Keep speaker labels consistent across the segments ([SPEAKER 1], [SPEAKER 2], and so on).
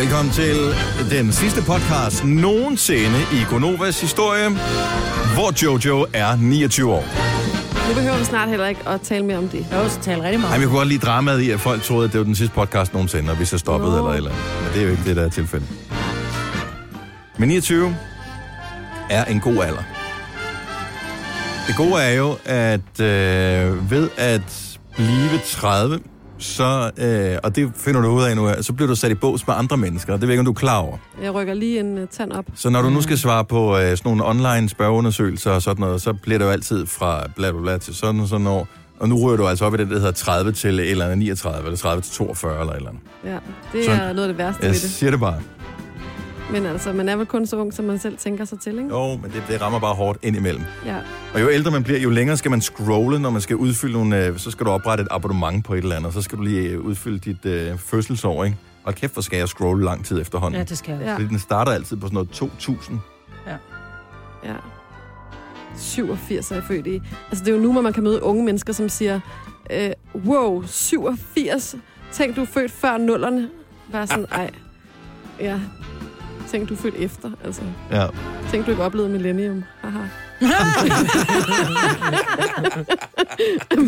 [SPEAKER 1] Velkommen til den sidste podcast nogensinde i Gonovas historie, hvor Jojo er 29 år.
[SPEAKER 2] Nu behøver vi snart heller ikke at tale mere om det.
[SPEAKER 3] Jeg har også talt rigtig
[SPEAKER 1] Ej,
[SPEAKER 3] meget.
[SPEAKER 1] men jeg kunne godt lide dramaet i, at folk troede, at det var den sidste podcast nogensinde, og vi så stoppede
[SPEAKER 2] Nå.
[SPEAKER 1] eller et eller andet. Men det er jo ikke det, der er tilfældet. Men 29 er en god alder. Det gode er jo, at øh, ved at blive 30, så, øh, og det finder du ud af nu her, så bliver du sat i bås med andre mennesker. Det ved jeg ikke, om du er klar over.
[SPEAKER 2] Jeg rykker lige en uh, tand op.
[SPEAKER 1] Så når du nu skal svare på øh, sådan nogle online spørgeundersøgelser og sådan noget, så bliver det jo altid fra bla bla bla til sådan og sådan år. Og nu rører du altså op i det, der hedder 30 til et eller andet 39, eller 30 til 42 eller et eller andet.
[SPEAKER 2] Ja, det
[SPEAKER 1] Sådan.
[SPEAKER 2] er noget af det værste
[SPEAKER 1] Jeg
[SPEAKER 2] yes. ved det.
[SPEAKER 1] siger det bare.
[SPEAKER 2] Men altså, man er vel kun så ung, som man selv tænker sig til, ikke?
[SPEAKER 1] Jo, men det, det rammer bare hårdt indimellem.
[SPEAKER 2] Ja.
[SPEAKER 1] Og jo ældre man bliver, jo længere skal man scrolle, når man skal udfylde nogle... Øh, så skal du oprette et abonnement på et eller andet, og så skal du lige øh, udfylde dit øh, fødselsår, ikke? Og kæft, hvor skal jeg scrolle lang tid efterhånden.
[SPEAKER 3] Ja,
[SPEAKER 1] Ja,
[SPEAKER 3] det skal jeg.
[SPEAKER 2] Ja.
[SPEAKER 3] Ja.
[SPEAKER 1] Fordi den starter altid på sådan noget 2000.
[SPEAKER 2] ja. 87 er jeg født i. Altså, det er jo nu, hvor man kan møde unge mennesker, som siger, øh, wow, 87? Tænk, du er født før nullerne. Bare sådan,
[SPEAKER 1] Ah.
[SPEAKER 2] ej. Ja. Tænk, du er født efter, altså.
[SPEAKER 1] Ja.
[SPEAKER 2] Tænk, du ikke oplevede millennium. Haha.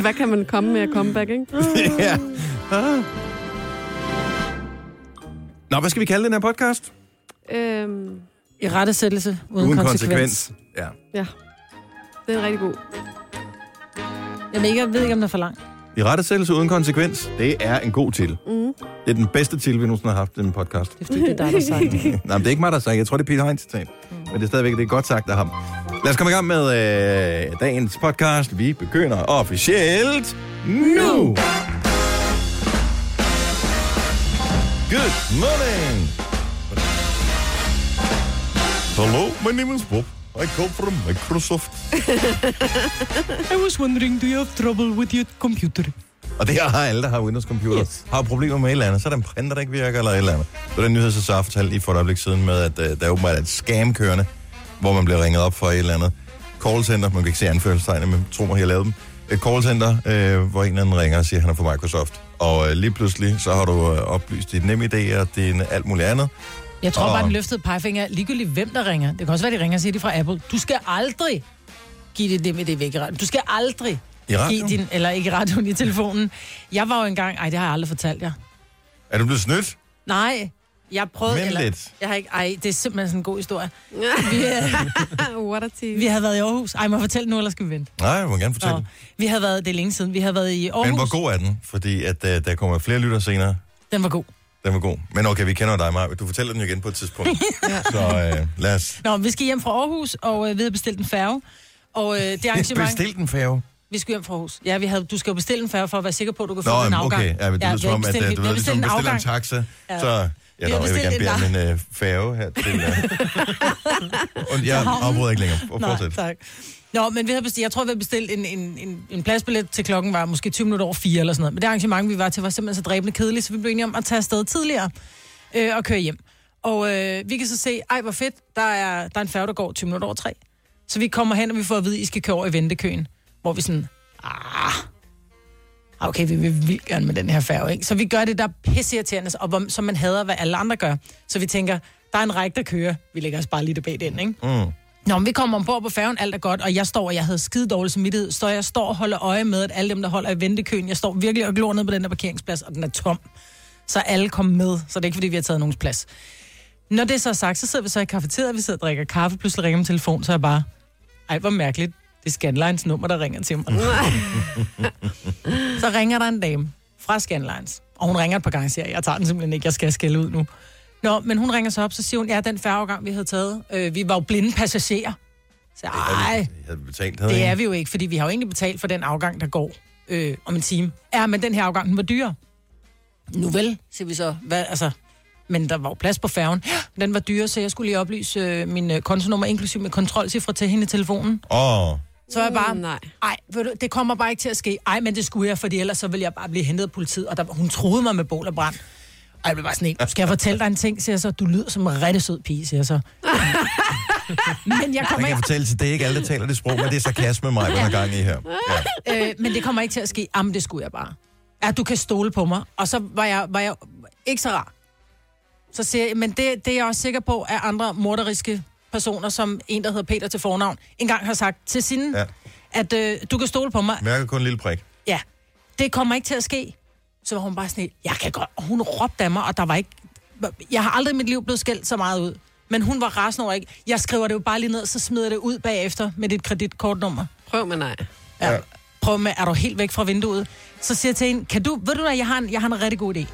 [SPEAKER 2] Hvad kan man komme med at comeback, ikke?
[SPEAKER 1] ja. Ah. Nå, hvad skal vi kalde den her podcast?
[SPEAKER 2] Øhm,
[SPEAKER 3] I rettesættelse uden, uden konsekvens.
[SPEAKER 1] Ja.
[SPEAKER 2] ja. Det er en rigtig god.
[SPEAKER 3] Jamen, ikke- jeg ved ikke, om den er for lang.
[SPEAKER 1] I rettesættelse uden konsekvens, det er en god til.
[SPEAKER 2] Mm.
[SPEAKER 1] Det er den bedste til, vi nogensinde har haft i en podcast.
[SPEAKER 3] Det er fordi, det er dig, der sagde det. Mm.
[SPEAKER 1] Nej, men det er ikke mig, der har sagt. Jeg tror, det er Peter Heinz citat. Men det er stadigvæk det er godt sagt af ham. Lad os komme i gang med øh, dagens podcast. Vi begynder officielt nu. Good morning. Hello, my name is Bob. I come from Microsoft.
[SPEAKER 3] I was wondering, do you have trouble with your computer?
[SPEAKER 1] Og det har alle, der har Windows-computer. Yes.
[SPEAKER 3] Yes.
[SPEAKER 1] Har problemer med et eller andet, så er der en printer, der ikke virker, eller et eller andet. Så den nyhed, så Sara fortalte lige for et øjeblik siden med, at øh, der er åbenbart er et scam kørende, hvor man bliver ringet op for et eller andet callcenter. Man kan ikke se anførselstegnet, men tro mig, jeg lavede dem. Et callcenter, øh, hvor en eller anden ringer og siger, at han er fra Microsoft. Og øh, lige pludselig, så har du øh, oplyst dit nemme idé og din alt muligt andet.
[SPEAKER 3] Jeg tror
[SPEAKER 1] Og-
[SPEAKER 3] bare, den løftede pegefinger, er ligegyldigt hvem der ringer. Det kan også være, de ringer og siger det er fra Apple. Du skal aldrig give det det med det væk i radioen. Du skal aldrig
[SPEAKER 1] I radioen?
[SPEAKER 3] give din, eller ikke i radioen, i telefonen. Jeg var jo engang, ej, det har jeg aldrig fortalt jer.
[SPEAKER 1] Er du blevet snydt?
[SPEAKER 3] Nej, jeg prøvede,
[SPEAKER 1] Vent
[SPEAKER 3] eller,
[SPEAKER 1] lidt.
[SPEAKER 3] jeg har ikke, ej, det er simpelthen sådan en god historie. Vi, øh,
[SPEAKER 2] What a team.
[SPEAKER 3] vi havde været i Aarhus. Ej, må jeg fortælle nu, eller skal vi vente?
[SPEAKER 1] Nej, jeg må gerne fortælle.
[SPEAKER 3] Nå, vi havde været, det er længe siden, vi havde været i Aarhus.
[SPEAKER 1] Men hvor god er den? Fordi at, øh, der kommer flere lytter senere.
[SPEAKER 3] Den var god.
[SPEAKER 1] Den var god. Men okay, vi kender jo dig, Maja. Du fortæller den jo igen på et tidspunkt. Så øh, lad os
[SPEAKER 3] Nå, vi skal hjem fra Aarhus, og øh, vi havde bestilt en færge. Og øh, det arrangement...
[SPEAKER 1] bestille den færge.
[SPEAKER 3] Vi skal hjem fra Aarhus. Ja, vi havde, du skal jo bestille en færge for at være sikker på, at du kan få
[SPEAKER 1] Nå,
[SPEAKER 3] en
[SPEAKER 1] jamen,
[SPEAKER 3] afgang.
[SPEAKER 1] okay. Ja, men det
[SPEAKER 3] vi
[SPEAKER 1] lyder
[SPEAKER 3] har
[SPEAKER 1] som om, at
[SPEAKER 3] bestilt-
[SPEAKER 1] øh, du
[SPEAKER 3] vi
[SPEAKER 1] ved,
[SPEAKER 3] har
[SPEAKER 1] hvis
[SPEAKER 3] bestilt
[SPEAKER 1] man
[SPEAKER 3] en
[SPEAKER 1] bestiller en taxa,
[SPEAKER 3] afgang. Ja.
[SPEAKER 1] så... Ja,
[SPEAKER 3] Vi
[SPEAKER 1] nå,
[SPEAKER 3] har
[SPEAKER 1] jeg vil
[SPEAKER 3] bestilt
[SPEAKER 1] gerne bede om
[SPEAKER 3] en
[SPEAKER 1] en øh, færge her til... Øh. Og jeg
[SPEAKER 3] havnen.
[SPEAKER 1] afbryder ikke længere. Og
[SPEAKER 3] Nej,
[SPEAKER 1] fortsæt.
[SPEAKER 3] tak. Nå, men vi havde bestilt, jeg tror, vi havde bestilt en, en, en, en pladsbillet til klokken var måske 20 minutter over 4 eller sådan noget. Men det arrangement, vi var til, var simpelthen så dræbende kedeligt, så vi blev enige om at tage afsted tidligere øh, og køre hjem. Og øh, vi kan så se, ej, hvor fedt, der er, der er en færge, der går 20 minutter over 3. Så vi kommer hen, og vi får at vide, I skal køre over i ventekøen. Hvor vi sådan, ah, okay, vi vil vildt gerne med den her færge, ikke? Så vi gør det, der er pisseirriterende, og hvor, som man hader, hvad alle andre gør. Så vi tænker, der er en række, der kører. Vi lægger os bare lidt bag den, ikke?
[SPEAKER 1] Mm.
[SPEAKER 3] Nå, men vi kommer ombord på færgen, alt er godt, og jeg står, og jeg havde skide dårlig samvittighed, så jeg står og holder øje med, at alle dem, der holder i ventekøen, jeg står virkelig og glor ned på den der parkeringsplads, og den er tom. Så alle kom med, så det er ikke, fordi vi har taget nogens plads. Når det så er sagt, så sidder vi så i kafeteriet, vi sidder og drikker kaffe, pludselig ringer min telefon, så er jeg bare, ej, hvor mærkeligt, det er Scanlines nummer, der ringer til mig. så ringer der en dame fra Scanlines, og hun ringer et par gange og siger, jeg tager den simpelthen ikke, jeg skal skælde ud nu. Nå, men hun ringer så op, så siger hun, ja, den færgeafgang, vi havde taget, øh, vi var jo blinde passagerer. Så ej,
[SPEAKER 1] Jeg havde betalt, havde
[SPEAKER 3] det er
[SPEAKER 1] jeg.
[SPEAKER 3] vi jo ikke, fordi vi har jo egentlig betalt for den afgang, der går øh, om en time. Ja, men den her afgang, den var dyr. Nu vel, siger vi så. Hvad, altså, men der var jo plads på færgen. Ja, Den var dyr, så jeg skulle lige oplyse øh, min øh, kontonummer, inklusiv med kontrolcifre til hende i telefonen.
[SPEAKER 1] Åh, oh,
[SPEAKER 3] Så er jeg bare,
[SPEAKER 2] Mm, nej.
[SPEAKER 3] Ej, ved du, det kommer bare ikke til at ske. Ej, men det skulle jeg, fordi ellers så ville jeg bare blive hentet af politiet. Og der, hun troede mig med bål og brand. Og jeg blev bare sådan en, skal jeg fortælle dig en ting, siger jeg så. Du lyder som en rigtig sød pige, siger jeg så. men, jeg
[SPEAKER 1] man
[SPEAKER 3] kommer
[SPEAKER 1] kan
[SPEAKER 3] ikke,
[SPEAKER 1] fortælle til det er ikke alle, der taler det sprog, men det er sarkasme, mig, man har gang i her. Ja.
[SPEAKER 3] øh, men det kommer ikke til at ske. Jamen, det skulle jeg bare. Ja, du kan stole på mig. Og så var jeg, var jeg ikke så rar. Så siger jeg, men det, det er jeg også sikker på, at andre morderiske personer, som en, der hedder Peter til fornavn, engang har sagt til sin,
[SPEAKER 1] Ja.
[SPEAKER 3] ja. at øh, du kan stole på mig.
[SPEAKER 1] Mærker kun en lille prik.
[SPEAKER 3] Ja, det kommer ikke til at ske. Så var hun bare sådan, helt, jeg kan godt. Og hun råbte af mig, og der var ikke... Jeg har aldrig i mit liv blevet skældt så meget ud. Men hun var rasende over ikke. Jeg skriver det jo bare lige ned, så smider jeg det ud bagefter med dit kreditkortnummer.
[SPEAKER 2] Prøv med nej.
[SPEAKER 3] Ja.
[SPEAKER 1] Ja.
[SPEAKER 3] ja. Prøv med, er du helt væk fra vinduet? Så siger jeg til hende, kan du, ved du hvad, jeg har en, jeg har en rigtig god idé.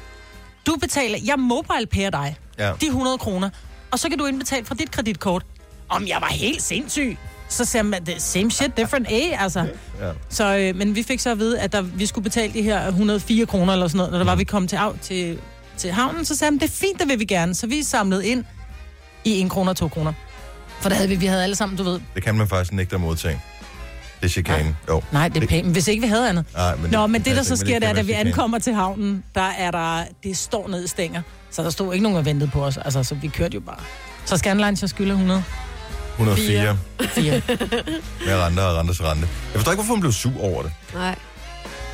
[SPEAKER 3] Du betaler, jeg mobile payer dig,
[SPEAKER 1] Ja.
[SPEAKER 3] de 100 kroner, og så kan du indbetale fra dit kreditkort. Om jeg var helt sindssyg. Så siger man, "The same shit, different A, altså.
[SPEAKER 1] Ja.
[SPEAKER 3] Så, øh, men vi fik så at vide, at der, vi skulle betale de her 104 kroner eller sådan noget, når der var, vi kom til, av, til, til havnen. Så sagde han, det er fint, det vil vi gerne. Så vi samlede ind i 1 kroner og 2 kroner. For der havde vi, vi havde alle sammen, du ved,
[SPEAKER 1] Det kan man faktisk nægte at modtage. Det er chikane. Jo.
[SPEAKER 3] nej, det er
[SPEAKER 1] Det-
[SPEAKER 3] pænt, men hvis ikke vi havde andet.
[SPEAKER 1] Nej, men
[SPEAKER 3] Nå,
[SPEAKER 1] det-
[SPEAKER 3] men
[SPEAKER 1] kan
[SPEAKER 3] det, der
[SPEAKER 1] jeg
[SPEAKER 3] så
[SPEAKER 1] tænke
[SPEAKER 3] sker,
[SPEAKER 1] mig,
[SPEAKER 3] det er,
[SPEAKER 1] kan
[SPEAKER 3] da vi
[SPEAKER 1] være chikane.
[SPEAKER 3] ankommer til havnen, der er der, det står ned i stænger. Så der stod ikke nogen og ventede på os. Altså, så vi kørte jo bare. Så Scanlines, jeg skylder 104.
[SPEAKER 1] 104 med renter og renters rente. Jeg forstår ikke, hvorfor hun blev sur over det.
[SPEAKER 2] Nej.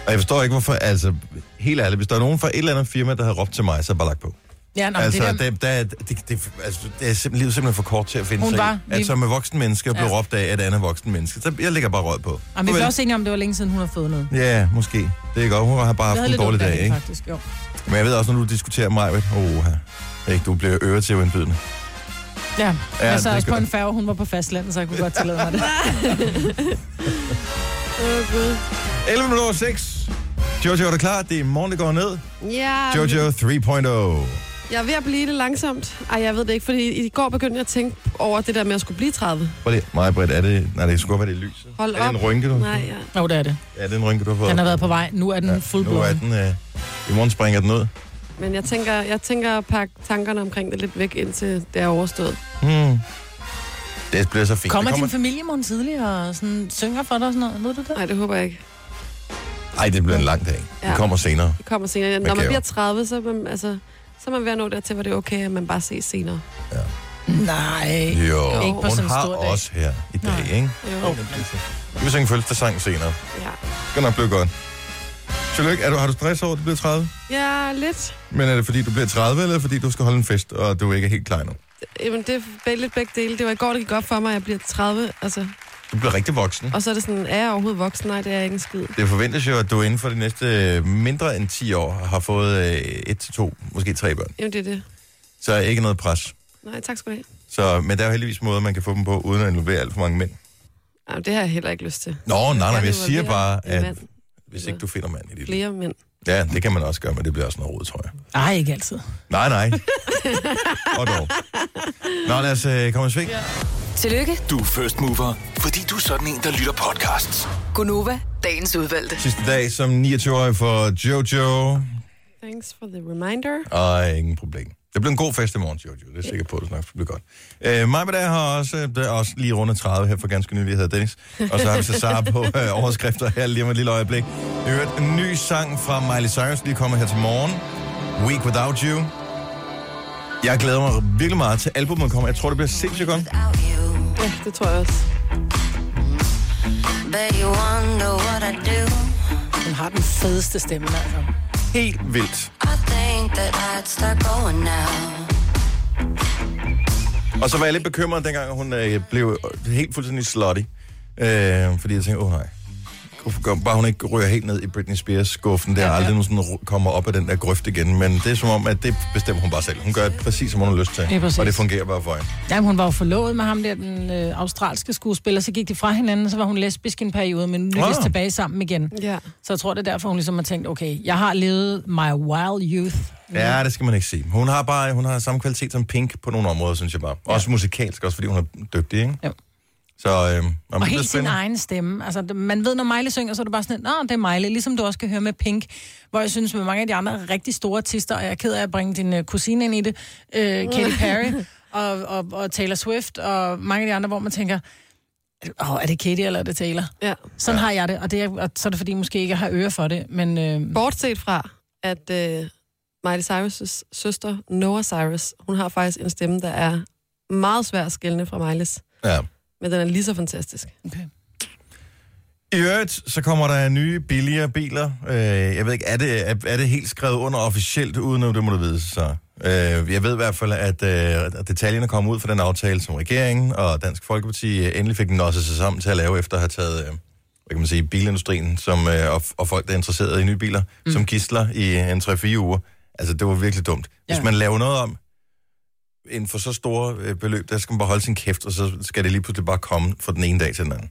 [SPEAKER 1] Og jeg forstår ikke, hvorfor, altså, helt ærligt, hvis der er nogen fra et eller andet firma, der har råbt til mig, så er jeg bare lagt på.
[SPEAKER 3] Ja, nå, men
[SPEAKER 1] altså,
[SPEAKER 3] det der,
[SPEAKER 1] det, der, det, det, det, altså, det er simpelthen, livet er simpelthen for kort til at finde
[SPEAKER 3] Hun
[SPEAKER 1] sig
[SPEAKER 3] var-
[SPEAKER 1] i. At
[SPEAKER 3] vi-
[SPEAKER 1] som med voksen menneske og blive
[SPEAKER 3] Ja.
[SPEAKER 1] råbt af et andet voksen menneske. Så jeg lægger bare råd på.
[SPEAKER 3] jamen, vi blev
[SPEAKER 1] Farvel.
[SPEAKER 3] også enige om, det var længe siden, hun har fået noget.
[SPEAKER 1] Ja, måske. Det er godt. Hun har bare
[SPEAKER 3] Jeg
[SPEAKER 1] haft
[SPEAKER 3] havde
[SPEAKER 1] en
[SPEAKER 3] lidt
[SPEAKER 1] dårlig
[SPEAKER 3] ondt af
[SPEAKER 1] dag,
[SPEAKER 3] hende,
[SPEAKER 1] ikke?
[SPEAKER 3] Faktisk, jo.
[SPEAKER 1] Men jeg ved også, når du diskuterer mig, ved, oha, ikke, du bliver øret til indbydende.
[SPEAKER 3] Ja,
[SPEAKER 1] Ja,
[SPEAKER 3] ja jeg sad
[SPEAKER 1] det
[SPEAKER 3] også
[SPEAKER 1] gør
[SPEAKER 3] på en
[SPEAKER 1] det.
[SPEAKER 3] færge, hun var på fastlandet, så jeg kunne godt tillade mig det.
[SPEAKER 1] 11 minutter over 6. Jojo, er du klar? Det er morgen, det går ned.
[SPEAKER 2] Ja,
[SPEAKER 1] Jojo 3.0.
[SPEAKER 2] jeg er ved at blive det langsomt. Ej, jeg ved det ikke, fordi i går begyndte jeg at tænke over det der med at skulle blive 30.
[SPEAKER 1] Prøv lige, meget bredt er det... Nej, det skulle godt være det er lyset.
[SPEAKER 2] Hold
[SPEAKER 1] er det en
[SPEAKER 2] op.
[SPEAKER 1] rynke, du?
[SPEAKER 2] Nej, ja.
[SPEAKER 3] Jo, det er det.
[SPEAKER 1] Ja, det er en rynke, du har fået.
[SPEAKER 3] Den har været på vej. Nu er den ja, full
[SPEAKER 1] Nu er
[SPEAKER 3] blown.
[SPEAKER 1] den... Øh, I morgen springer den ud.
[SPEAKER 2] Men jeg tænker, jeg tænker at pakke tankerne omkring det lidt væk, indtil det er overstået.
[SPEAKER 1] Hmm. Det bliver så fint.
[SPEAKER 3] Kommer
[SPEAKER 1] det
[SPEAKER 3] din familie i morgen tidlig og sådan, synger for dig og sådan noget? Ved du det?
[SPEAKER 2] Nej, det håber jeg ikke.
[SPEAKER 1] Ej, det bliver en lang dag. Ja.
[SPEAKER 2] Ja.
[SPEAKER 1] Det kommer senere.
[SPEAKER 2] Det kommer senere. Når man
[SPEAKER 1] gaver.
[SPEAKER 2] bliver 30, så er man, altså, så er man ved at nå dertil, hvor det er okay, at man bare ses senere.
[SPEAKER 3] Nej.
[SPEAKER 1] Jo,
[SPEAKER 3] Ikke på
[SPEAKER 1] hun
[SPEAKER 3] sådan en
[SPEAKER 1] har
[SPEAKER 3] stor dag.
[SPEAKER 1] også her i dag,
[SPEAKER 3] Nej.
[SPEAKER 1] ikke?
[SPEAKER 2] Jo.
[SPEAKER 1] Vi vil synge fødselsdagssang senere.
[SPEAKER 2] Ja.
[SPEAKER 1] Det kan nok blive godt. Tillykke. Er du, har du stress over, at du bliver 30?
[SPEAKER 2] ja, lidt.
[SPEAKER 1] Men er det fordi, du bliver 30, eller fordi du skal holde en fest, og du ikke er helt klar nu?
[SPEAKER 2] Jamen, det er beg- lidt begge dele. Det var i går, det gik op for mig, at jeg bliver 30. Altså.
[SPEAKER 1] Du bliver rigtig voksen.
[SPEAKER 2] Og så er det sådan, er jeg overhovedet voksen? Nej, det er jeg ikke en skid.
[SPEAKER 1] Det forventes jo, at du inden for de næste øh, mindre end 10 år har fået øh, et til to, måske tre børn.
[SPEAKER 2] Jamen, det er det.
[SPEAKER 1] Så ikke noget pres.
[SPEAKER 2] Nej, tak skal du have.
[SPEAKER 1] Så, men der er jo heldigvis måder, man kan få dem på, uden at involvere alt for mange mænd.
[SPEAKER 2] Jamen, det har jeg heller ikke lyst til.
[SPEAKER 1] Nå, nej, nej, men jeg
[SPEAKER 2] involvere
[SPEAKER 1] siger bare,
[SPEAKER 2] en
[SPEAKER 1] at
[SPEAKER 2] mand.
[SPEAKER 1] hvis ikke du finder mand i dit liv.
[SPEAKER 2] Flere mænd.
[SPEAKER 1] Ja, det kan man også gøre, men det bliver også noget rod, tror jeg.
[SPEAKER 3] Nej, ikke altid.
[SPEAKER 1] Nej, nej. Og dog. Nå, lad os øh, komme i sving.
[SPEAKER 4] Tillykke,
[SPEAKER 5] Du er first mover, fordi du er sådan en, der lytter podcasts.
[SPEAKER 4] Gunova, dagens udvalgte.
[SPEAKER 1] Sidste dag som 29-årig for Jojo.
[SPEAKER 2] Thanks for the reminder.
[SPEAKER 1] Og ingen problem. Det bliver en god fest i morgen, Jojo. Det er jeg sikker på, at det nok bliver godt. Øh, mig med der har også, øh, der er også lige rundet 30 her for ganske nylig. Jeg hedder Dennis. Og så har vi Cesar på øh, overskrifter her lige om et lille øjeblik. Jeg hørte en ny sang fra Miley Cyrus, lige kommer her til morgen. Week Without You. Jeg glæder mig virkelig meget til albumet kommer. Jeg tror, det bliver sindssygt godt.
[SPEAKER 6] without you.
[SPEAKER 2] Ja, det tror jeg også.
[SPEAKER 6] Bet you wonder what I do.
[SPEAKER 3] Hun har den fedeste stemme, altså.
[SPEAKER 1] Helt vildt.
[SPEAKER 6] I think that I'd start going now.
[SPEAKER 1] Og så var jeg lidt bekymret, dengang hun øh, blev helt fuldstændig slutty. Øh, fordi jeg tænkte, åh oh, nej. Hvorfor gør- Bare hun ikke rører helt ned i Britney Spears-skuffen, der ja,
[SPEAKER 3] Ja,
[SPEAKER 1] ja.
[SPEAKER 3] ja.
[SPEAKER 1] aldrig nogensinde ru- kommer op af den der grøft igen. Men det er som om, at det bestemmer hun bare selv. Hun gør det præcis, som hun har lyst til.
[SPEAKER 3] Ja, præcis.
[SPEAKER 1] og det fungerer bare for hende.
[SPEAKER 3] Jamen, hun var jo forlovet med ham der, den øh, australske skuespiller, så gik de fra hinanden, så var hun lesbisk i en periode, men nu lykkedes
[SPEAKER 1] Wow.
[SPEAKER 3] tilbage sammen igen.
[SPEAKER 2] Ja.
[SPEAKER 3] Så jeg tror, det er derfor, hun ligesom har tænkt, okay, jeg har levet my wild youth.
[SPEAKER 1] Ja, det skal man ikke sige. Hun har bare hun har samme kvalitet som Pink på nogle områder, synes jeg bare. Også musikalsk, også fordi hun er dygtig, ikke?
[SPEAKER 3] Jo.
[SPEAKER 1] Så øh, jamen, det
[SPEAKER 3] Og
[SPEAKER 1] bliver
[SPEAKER 3] helt sin
[SPEAKER 1] spændende.
[SPEAKER 3] egen stemme. Altså, det- man ved, når Miley synger, så er det bare sådan, nå, det er Miley, ligesom du også kan høre med Pink, hvor jeg synes, med mange af de andre rigtig store artister, og jeg er ked af at bringe din øh, kusine ind i det, øh, Katy Perry og, og, og Taylor Swift, og mange af de andre, hvor man tænker, åh, er det Katy eller er det Taylor?
[SPEAKER 2] ja.
[SPEAKER 3] Sådan ja. har jeg det, og, det er, og så er det, fordi jeg måske ikke har øre for det, men... Øh,
[SPEAKER 2] Bortset fra, at øh, Miley Cyrus' søster, Noah Cyrus, hun har faktisk en stemme, der er meget svær at skille fra Miley's.
[SPEAKER 1] Ja.
[SPEAKER 2] Men den er lige så fantastisk.
[SPEAKER 3] okay.
[SPEAKER 1] I øvrigt, så kommer der nye, billigere biler. Øh, jeg ved ikke, er det, er, er det helt skrevet under officielt, uden at det må du vide, så Øh, jeg ved i hvert fald, at øh, detaljerne kom ud fra den aftale, som regeringen og Dansk Folkeparti øh, endelig fik den også sig sammen til at lave, efter at have taget øh, hvad kan man sige, bilindustrien som, øh, og, og folk, der er interesserede i nye biler, mm. som gidsler i en 3-4 uger. Altså, det var virkelig dumt. Hvis
[SPEAKER 3] Ja.
[SPEAKER 1] man laver noget om inden for så store øh, beløb, der skal man bare holde sin kæft, og så skal det lige pludselig bare komme fra den ene dag til den anden.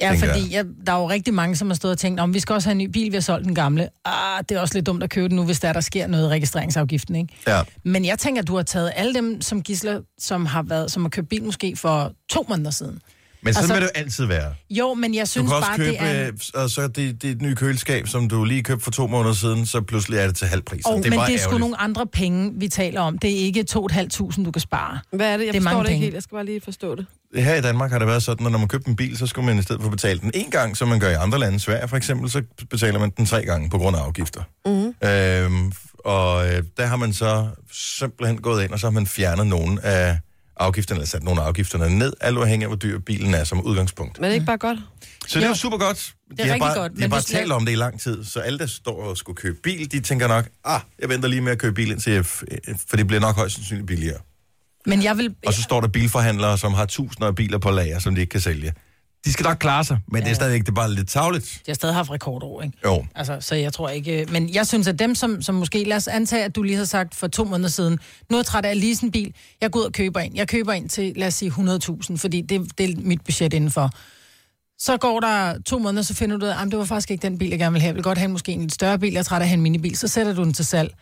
[SPEAKER 3] Ja,
[SPEAKER 1] tænker
[SPEAKER 3] fordi jeg, der er jo rigtig mange, som har stået og tænkt, om vi skal også have en ny bil, vi har solgt den gamle. Ah, det er også lidt dumt at købe den nu, hvis der, der sker noget i registreringsafgiften, ikke?
[SPEAKER 1] Ja.
[SPEAKER 3] Men jeg tænker, at du har taget alle dem som gisler, som har, været, som har købt bil måske for to måneder siden.
[SPEAKER 1] Men sådan
[SPEAKER 3] Altså,
[SPEAKER 1] altså, vil det jo altid være.
[SPEAKER 3] Jo, men jeg
[SPEAKER 1] Du
[SPEAKER 3] synes
[SPEAKER 1] kan også
[SPEAKER 3] bare,
[SPEAKER 1] købe
[SPEAKER 3] det er...
[SPEAKER 1] øh, og så det, det nye køleskab, som du lige købte for to måneder siden, så pludselig er det til halv pris.
[SPEAKER 3] Og,
[SPEAKER 1] det er
[SPEAKER 3] men
[SPEAKER 1] bare
[SPEAKER 3] det er sgu
[SPEAKER 1] ærgerligt.
[SPEAKER 3] nogle andre penge, vi taler om. Det er ikke 2.500, du kan spare.
[SPEAKER 2] Hvad er det? Jeg
[SPEAKER 3] Det er
[SPEAKER 2] det forstår
[SPEAKER 3] mange
[SPEAKER 2] det ikke
[SPEAKER 3] penge.
[SPEAKER 2] helt. Jeg skal bare lige forstå det.
[SPEAKER 1] Her i Danmark har det været sådan, at når man købte en bil, så skulle man i stedet for betale den en gang, som man gør i andre lande. Sverige for eksempel, så betaler man den tre gange på grund af afgifter.
[SPEAKER 3] Mhm.
[SPEAKER 1] Mm. Øhm, og øh, der har man så simpelthen gået ind, og så har man fjernet nogle af afgifterne, eller sat nogle af afgifterne ned, alt afhængig af, hvor dyr bilen er som udgangspunkt.
[SPEAKER 2] Men er det ikke bare godt?
[SPEAKER 1] Så det er jo super godt.
[SPEAKER 3] er
[SPEAKER 1] de har
[SPEAKER 3] rigtig
[SPEAKER 1] bare,
[SPEAKER 3] godt,
[SPEAKER 1] De har
[SPEAKER 3] men
[SPEAKER 1] bare
[SPEAKER 3] hvis det er-
[SPEAKER 1] talt om det i lang tid, så alle, der står og skulle købe bil, de tænker nok, ah, jeg venter lige med at købe bil indtil, jeg f- øh, for det bliver nok højst sandsynligt billigere.
[SPEAKER 3] Men jeg vil...
[SPEAKER 1] Og så står der bilforhandlere, som har tusinder af biler på lager, som de ikke kan sælge. De skal nok klare sig, men ja. det er stadigvæk det er bare lidt tavligt.
[SPEAKER 3] De har stadig haft rekordår, ikke?
[SPEAKER 1] Jo.
[SPEAKER 3] Altså, så jeg tror ikke... Men jeg synes, at dem, som, som måske... Lad os antage, at du lige har sagt for to måneder siden, nu er jeg træt af at lease en bil. Jeg går ud og køber en. Jeg køber en til, lad os sige, 100.000, fordi det, det er mit budget indenfor. Så går der to måneder, så finder du ud af, at det var faktisk ikke den bil, jeg gerne ville have. Jeg vil godt have en, måske en lidt større bil. Jeg er træt af at have en minibil. Så sætter du den til salg.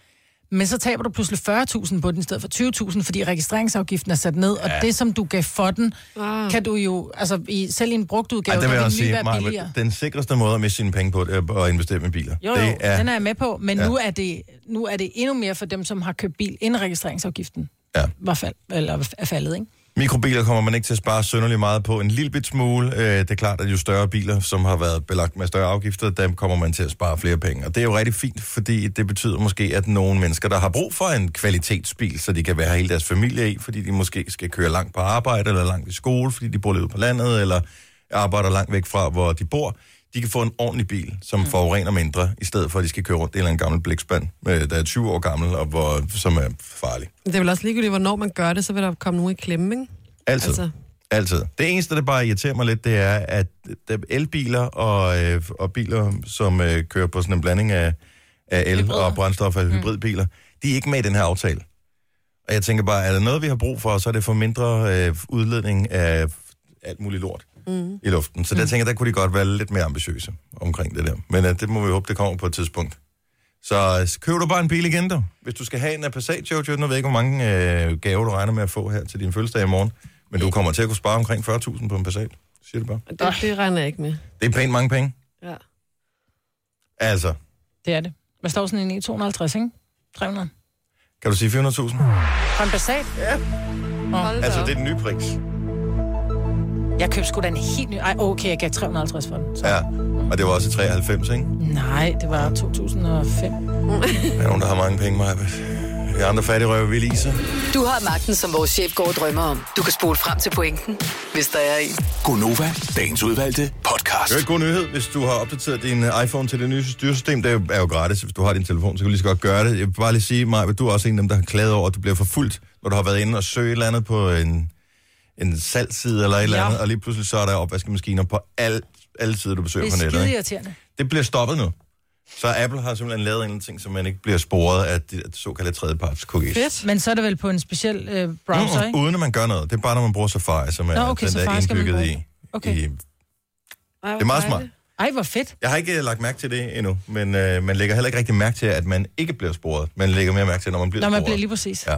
[SPEAKER 3] Men så taber du pludselig 40.000 på den i stedet for 20.000, fordi registreringsafgiften er sat ned. Ja. Og det, som du gav for den,
[SPEAKER 2] Ah.
[SPEAKER 3] kan du jo... Altså, i, selv i en brugt udgave,
[SPEAKER 1] Ej,
[SPEAKER 3] Ej,
[SPEAKER 1] det
[SPEAKER 3] der
[SPEAKER 1] vil jeg
[SPEAKER 3] vil
[SPEAKER 1] også
[SPEAKER 3] den nye
[SPEAKER 1] sige,
[SPEAKER 3] være
[SPEAKER 1] Maja,
[SPEAKER 3] billigere.
[SPEAKER 1] den sikreste måde at miste sine penge på, det er at investere med biler.
[SPEAKER 3] Jo,
[SPEAKER 1] det
[SPEAKER 3] jo, er... den er jeg med på, men ja. nu, er det, nu er det endnu mere for dem, som har købt bil, inden registreringsafgiften
[SPEAKER 1] Ja.
[SPEAKER 3] var fald, eller er faldet, ikke?
[SPEAKER 1] Mikrobiler kommer man ikke til at spare sønderlig meget på. En lille bit smule. Øh, det er klart, at jo større biler, som har været belagt med større afgifter, dem kommer man til at spare flere penge. Og det er jo rigtig fint, fordi det betyder måske, at nogle mennesker, der har brug for en kvalitetsbil, så de kan være hele deres familie i, fordi de måske skal køre langt på arbejde eller langt i skole, fordi de bor lidt ude på landet, eller arbejder langt væk fra, hvor de bor, de kan få en ordentlig bil, som mm. forurener mindre, i stedet for, at de skal køre rundt i en eller anden gammel blækspand, øh, der er 20 år gammel, og hvor, som er farlig.
[SPEAKER 2] Men Det er vel også ligegyldigt, hvornår man gør det, så vil der komme nogen i klemme, ikke?
[SPEAKER 1] Altid. Altså.
[SPEAKER 2] Altså.
[SPEAKER 1] Altid. Det eneste, der bare irriterer mig lidt, det er, at der er elbiler og, øh, og biler, som øh, kører på sådan en blanding af, af el Hybrider. og brændstof og hybridbiler, de er ikke med i den her aftale. Og jeg tænker bare, er der noget, vi har brug for, så er det for mindre øh, udledning af alt muligt lort mm. i luften. Så der tænker jeg, der kunne de godt være lidt mere ambitiøse omkring det der. Men øh, det må vi håbe, det kommer på et tidspunkt. Så øh, køb du bare en bil igen, du. Hvis du skal have en af Passat, Jojo, nu ved jeg ikke, hvor mange øh, gaver du regner med at få her til din fødselsdag i morgen, men du kommer til at kunne spare omkring 40.000 på en Passat. Siger det bare.
[SPEAKER 2] Og Det, det regner jeg ikke med.
[SPEAKER 1] Det er pænt mange penge.
[SPEAKER 2] Ja.
[SPEAKER 1] Altså,
[SPEAKER 3] Det er det. Hvad står sådan en i? 250, ikke? 300.
[SPEAKER 1] kan du sige 400.000?
[SPEAKER 3] For en Passat?
[SPEAKER 2] Hold da
[SPEAKER 1] Altså,
[SPEAKER 2] op.
[SPEAKER 1] det er den nye pris.
[SPEAKER 3] Jeg købte sgu da en helt ny... Ej, okay, jeg gav 350 for den. Så.
[SPEAKER 1] Ja, og det var også i 93, ikke?
[SPEAKER 3] Nej, det var
[SPEAKER 1] Der
[SPEAKER 3] 2005.
[SPEAKER 1] er nogen, der har mange penge, Maja. Vi andre fattige røver, vi lige
[SPEAKER 4] Du har magten, som vores chef går og drømmer om. Du kan spole frem til pointen, hvis der er en.
[SPEAKER 5] Gonova, dagens udvalgte podcast.
[SPEAKER 1] Det er en god nyhed, hvis du har opdateret din øh, iPhone til det nye styresystem. Det er jo, er jo gratis, hvis du har din telefon, så kan du lige så godt gøre det. Jeg vil bare lige sige, Maja, du er også en af dem, der har klaget over, at du bliver forfulgt, når du har været inde og søge et eller andet på en, en salgside eller et eller
[SPEAKER 3] Ja.
[SPEAKER 1] andet, og lige pludselig så er der opvaskemaskiner på alt, alle sider, du besøger
[SPEAKER 3] Det
[SPEAKER 1] på
[SPEAKER 3] er
[SPEAKER 1] nettet.
[SPEAKER 3] skide
[SPEAKER 1] ikke?
[SPEAKER 3] irriterende.
[SPEAKER 1] Det bliver stoppet nu. Så Apple har simpelthen lavet en eller anden ting, så man ikke bliver sporet af det det såkaldte tredjeparts cookies.
[SPEAKER 2] Fedt.
[SPEAKER 3] Men så er det vel på en speciel øh, browser,
[SPEAKER 1] Mm,
[SPEAKER 3] ikke?
[SPEAKER 1] uden at man gør noget. Det er bare, når man bruger Safari, som er
[SPEAKER 3] Nå, okay,
[SPEAKER 1] den, der er
[SPEAKER 3] Safari skal man
[SPEAKER 1] indbygget i,
[SPEAKER 3] bruge. Okay.
[SPEAKER 1] i...
[SPEAKER 2] Ej,
[SPEAKER 1] Det er meget smart.
[SPEAKER 3] Ej, hvor fedt.
[SPEAKER 1] Jeg har ikke øh, lagt mærke til det endnu, men øh, man lægger heller ikke rigtig mærke til, at man ikke bliver sporet. Man lægger mere mærke til, når man bliver
[SPEAKER 3] Når man
[SPEAKER 1] sporet.
[SPEAKER 3] bliver lige præcis.
[SPEAKER 1] Ja.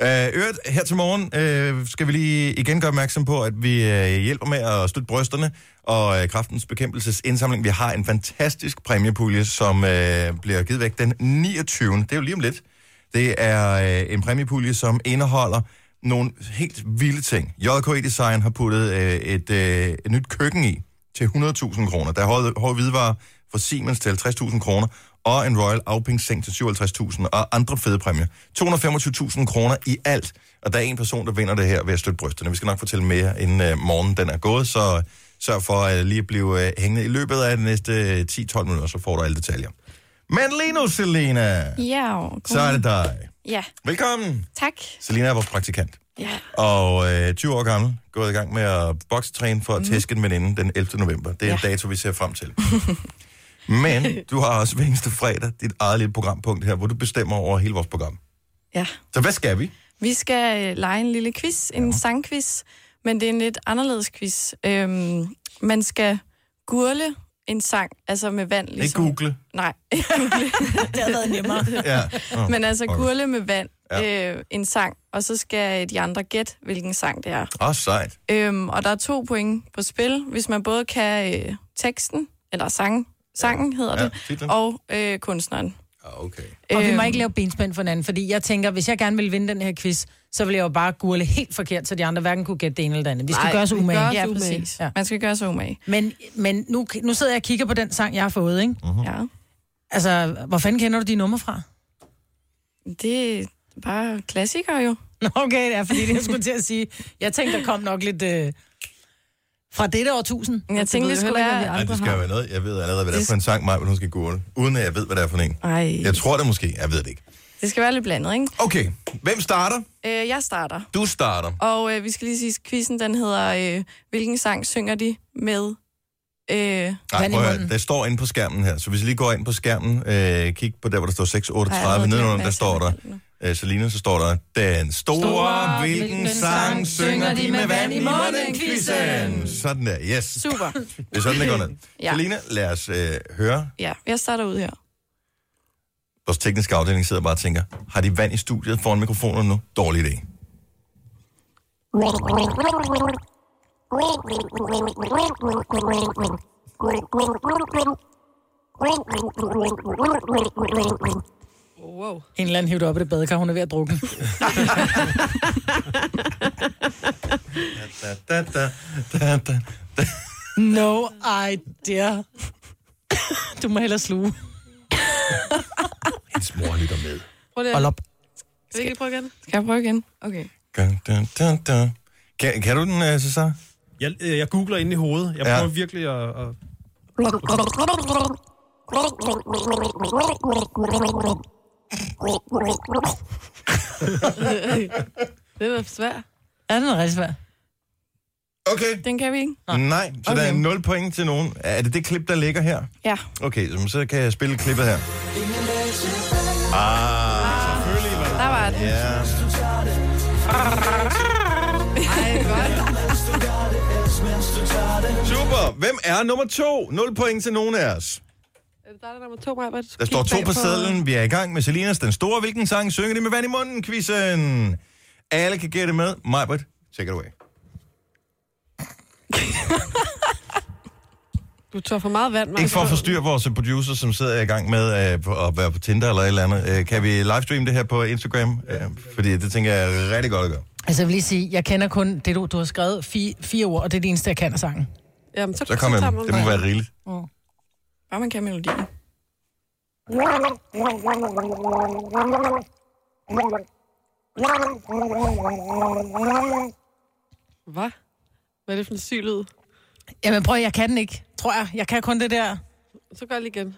[SPEAKER 1] Øh, øvrigt, her til morgen øh, skal vi lige igen gøre opmærksom på, at vi øh, hjælper med at støtte brysterne og øh, kraftens bekæmpelses indsamling. Vi har en fantastisk præmiepulje, som øh, bliver givet væk den 29. Det er jo lige om lidt. Det er øh, en præmiepulje, som indeholder nogle helt vilde ting. JK Design har puttet øh, et, øh, et nyt køkken i til 100.000 kroner. Der er hårde, hårde hvidevarer fra Siemens til 50.000 kroner, og en Royal Alping seng til 57.000, og andre fede præmier. 225.000 kroner i alt, og der er en person, der vinder det her ved at støtte brysterne. Vi skal nok fortælle mere, inden øh, morgenen den er gået, så sørg for øh, lige at blive øh, hængende i løbet af de næste øh, 10-12 minutter, så får du alle detaljer. Men lige nu, Selena,
[SPEAKER 7] Ja, og
[SPEAKER 1] så er det dig.
[SPEAKER 2] Ja,
[SPEAKER 1] Velkommen!
[SPEAKER 2] tak.
[SPEAKER 1] Selina er vores praktikant.
[SPEAKER 2] Ja.
[SPEAKER 1] Og øh, 20 år gammel, gået i gang med at boksetræne for at tæske en veninde den 11. november. Det er ja. en dato, vi ser frem til. Men du har også hver eneste fredag dit eget lille programpunkt her, hvor du bestemmer over hele vores program.
[SPEAKER 2] ja.
[SPEAKER 1] Så hvad skal vi?
[SPEAKER 2] Vi skal øh, lege en lille quiz, en sangquiz, men det er en lidt anderledes quiz. Øhm, man skal gurle en sang, altså med vand.
[SPEAKER 1] Ikke
[SPEAKER 2] Ligesom.
[SPEAKER 1] google.
[SPEAKER 2] Nej,
[SPEAKER 3] Det har været nemmere.
[SPEAKER 1] Ja. Oh.
[SPEAKER 2] men altså
[SPEAKER 1] Okay.
[SPEAKER 2] gurle med vand
[SPEAKER 1] Ja.
[SPEAKER 2] ja. øh, en sang, og så skal de andre gætte, hvilken sang det er.
[SPEAKER 1] Åh, oh, sejt.
[SPEAKER 2] Øhm, og der er to point på spil, hvis man både kan øh, teksten, eller sang, sangen hedder
[SPEAKER 1] Ja,
[SPEAKER 2] det,
[SPEAKER 1] titlen.
[SPEAKER 2] og øh, kunstneren.
[SPEAKER 1] Ah, okay.
[SPEAKER 3] Og vi må
[SPEAKER 2] Øhm.
[SPEAKER 3] ikke lave benspænd for hinanden, fordi jeg tænker, hvis jeg gerne ville vinde den her quiz, så ville jeg jo bare gurle helt forkert, så de andre hverken kunne gætte det ene eller det andet. Vi skal
[SPEAKER 7] Nej,
[SPEAKER 3] gøre os
[SPEAKER 7] vi
[SPEAKER 3] umage.
[SPEAKER 7] gør os
[SPEAKER 3] Ja,
[SPEAKER 2] Ja,
[SPEAKER 7] umage.
[SPEAKER 2] præcis.
[SPEAKER 3] Ja.
[SPEAKER 2] Ja. Man skal gøre sig umage.
[SPEAKER 3] men men nu, nu sidder jeg og kigger på den sang, jeg har fået, ikke?
[SPEAKER 1] Mhm.
[SPEAKER 2] Mm. Ja.
[SPEAKER 3] Altså, hvor fanden kender du de numre fra?
[SPEAKER 2] Det er bare klassikere jo.
[SPEAKER 3] Nå, okay, det er fordi, det jeg skulle til at sige. Jeg tænkte, der kom nok lidt øh, fra dette årtusind. Altså,
[SPEAKER 2] Men jeg
[SPEAKER 7] Det ved
[SPEAKER 2] tænkte, det
[SPEAKER 7] jeg
[SPEAKER 2] skulle
[SPEAKER 7] heller ikke,
[SPEAKER 2] være...
[SPEAKER 1] Ej, det skal jo være noget. Jeg ved allerede, hvad det er
[SPEAKER 2] Det-
[SPEAKER 1] for en sang, mig, hun skal google. Uden at jeg ved, hvad det er for en.
[SPEAKER 2] Ej,
[SPEAKER 1] Jeg tror det måske. Jeg ved det ikke.
[SPEAKER 2] det skal være lidt blandet, ikke?
[SPEAKER 1] Okay, hvem starter?
[SPEAKER 2] Øh, jeg starter.
[SPEAKER 1] Du starter.
[SPEAKER 2] Og øh, vi skal lige sige, at quizzen den hedder, øh, hvilken sang synger de med? Øh,
[SPEAKER 1] Nej,
[SPEAKER 3] Vand i
[SPEAKER 1] prøv at, høre,
[SPEAKER 3] munden.
[SPEAKER 1] der står inde på skærmen her. Så hvis I lige går ind på skærmen, øh, kig på der, hvor der står 638,
[SPEAKER 2] Ej, jeg ved
[SPEAKER 1] nedenunder,
[SPEAKER 2] ikke,
[SPEAKER 1] der
[SPEAKER 2] hvad
[SPEAKER 1] står der,
[SPEAKER 2] jeg skal
[SPEAKER 1] øh, Selina, så står der, den store, store
[SPEAKER 3] Store,
[SPEAKER 1] hvilken,
[SPEAKER 3] hvilken
[SPEAKER 1] sang
[SPEAKER 3] sang
[SPEAKER 1] synger de med vand i munden,
[SPEAKER 3] munden-quizzen?
[SPEAKER 1] quizzen? Sådan der, yes.
[SPEAKER 2] super.
[SPEAKER 1] Det er sådan, det går ned.
[SPEAKER 2] Ja.
[SPEAKER 1] Selina, lad os øh, høre.
[SPEAKER 2] Ja, jeg starter ud her.
[SPEAKER 1] Vores tekniske afdeling sidder bare og tænker, har de vand i studiet foran mikrofonerne nu? Dårlig idé.
[SPEAKER 7] Wow.
[SPEAKER 3] En eller anden hævde op i det badekar, hun er ved at drukke.
[SPEAKER 1] Da, da, da, da, da.
[SPEAKER 3] No idea. Du må hellere sluge.
[SPEAKER 1] Hendes mor lytter med.
[SPEAKER 7] Prøv det.
[SPEAKER 3] Hold op.
[SPEAKER 7] Skal vi ikke lige prøve igen?
[SPEAKER 2] Skal jeg prøve igen? Okay.
[SPEAKER 1] Da, da, da, da. Kan, kan du den, øh, Cesar?
[SPEAKER 8] Jeg, øh, jeg googler inde i hovedet. Jeg
[SPEAKER 1] Ja.
[SPEAKER 8] prøver virkelig at... at...
[SPEAKER 7] Det var svært.
[SPEAKER 3] Er den rigtig svær?
[SPEAKER 1] Okay.
[SPEAKER 2] Den kan vi ikke?
[SPEAKER 1] Nej, så okay. der er 0 point til nogen. Er det det klip, der ligger her?
[SPEAKER 2] Ja.
[SPEAKER 1] Okay, så- så kan jeg spille klippet her. Ah.
[SPEAKER 2] Der var den.
[SPEAKER 1] Ja.
[SPEAKER 7] Ej, godt.
[SPEAKER 1] Super. Hvem er nummer to? 0 point til nogen af os.
[SPEAKER 7] Er det dig, der er nummer to, Maja?
[SPEAKER 1] Der står to på sædlen. Vi er i gang med Selinas Den Store. Hvilken sang synger de med vand i munden? Quizzen. Alle kan gætte med. Majbert, take it away.
[SPEAKER 7] Du tør for meget vand, Maja.
[SPEAKER 1] Ikke for at forstyrre vores producer, som sidder i gang med øh, på- at være på Tinder eller et eller andet. Øh, kan vi livestreame det her på Instagram? Øh, fordi det tænker jeg er rigtig godt at gøre.
[SPEAKER 3] Altså, jeg vil lige sige, jeg kender kun det, du, du har skrevet fi, fire ord, og det er det eneste, jeg kan af sangen.
[SPEAKER 7] Jamen, så,
[SPEAKER 1] Så kom med
[SPEAKER 7] tager
[SPEAKER 1] dem.
[SPEAKER 7] man
[SPEAKER 1] Det må
[SPEAKER 7] den.
[SPEAKER 1] være rigeligt.
[SPEAKER 2] Bare man kan melodien.
[SPEAKER 7] Hvad? Hvad er det for en syg lyd?
[SPEAKER 3] Jamen prøv, jeg kan den ikke, tror jeg. Jeg kan kun det der.
[SPEAKER 7] Så gør jeg lige igen.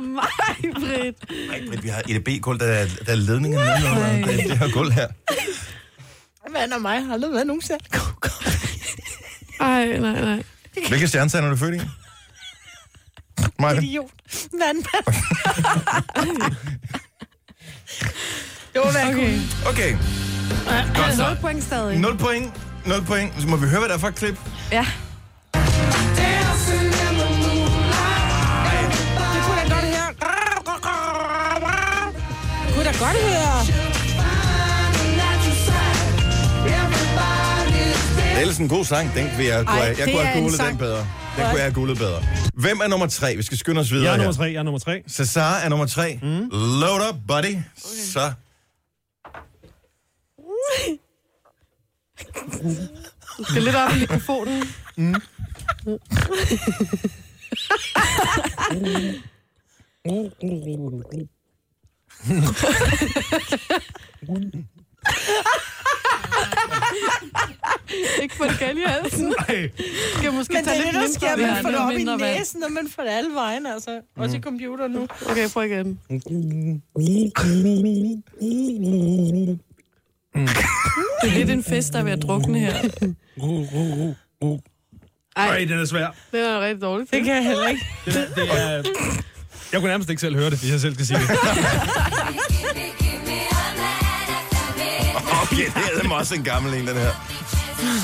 [SPEAKER 7] Nej, Britt.
[SPEAKER 1] Men vi har EDB-gulv, der, er- der er ledningen nedenunder det, det her gulv her.
[SPEAKER 3] Vand og mig har aldrig været nogen selv.
[SPEAKER 7] Ej, nej, nej.
[SPEAKER 1] Hvilke stjernetegn er du født i? Maja,
[SPEAKER 3] Idiot. Vand, vand. det var vand. Okay.
[SPEAKER 1] okay. Godt så.
[SPEAKER 7] 0 point stadig.
[SPEAKER 1] 0 point. 0 point. Så må vi høre, hvad der er for et klip.
[SPEAKER 2] Ja.
[SPEAKER 3] Det kunne jeg godt høre. Kunne jeg da godt høre.
[SPEAKER 1] Det er ellers en god sang. Den kunne jeg, kunne
[SPEAKER 3] Ej,
[SPEAKER 1] jeg, jeg kunne
[SPEAKER 3] det er en
[SPEAKER 1] have googlet den
[SPEAKER 3] sang.
[SPEAKER 1] bedre. Den kunne jeg have googlet bedre. Hvem er nummer tre? Vi skal skynde os videre
[SPEAKER 8] Jeg er
[SPEAKER 1] her.
[SPEAKER 8] nummer tre, jeg er nummer tre.
[SPEAKER 1] Cesar er nummer tre. Mm. Load up, buddy. Okay. Så.
[SPEAKER 7] Du skal lidt op i mikrofonen. Ikke på det gale i halsen.
[SPEAKER 8] Nej.
[SPEAKER 7] Skal måske
[SPEAKER 3] Men det
[SPEAKER 7] tage
[SPEAKER 3] er
[SPEAKER 7] lidt
[SPEAKER 3] det, der
[SPEAKER 7] mindre
[SPEAKER 3] sker,
[SPEAKER 7] vand,
[SPEAKER 3] man får det
[SPEAKER 7] lidt
[SPEAKER 3] op i
[SPEAKER 7] mindre vand.
[SPEAKER 3] næsen, og man får det alle vejen, altså. Også i computer nu.
[SPEAKER 2] Okay, prøv igen.
[SPEAKER 7] Det er lidt en fest, der er ved at drukne her.
[SPEAKER 8] Ej, den er svær.
[SPEAKER 2] Det er en rigtig dårlig
[SPEAKER 3] Det
[SPEAKER 2] film.
[SPEAKER 3] kan jeg heller ikke.
[SPEAKER 8] Det, det er... Jeg kunne nærmest ikke selv høre det, hvis jeg selv skal sige det.
[SPEAKER 1] Okay, det er dem også en gammel en, den her.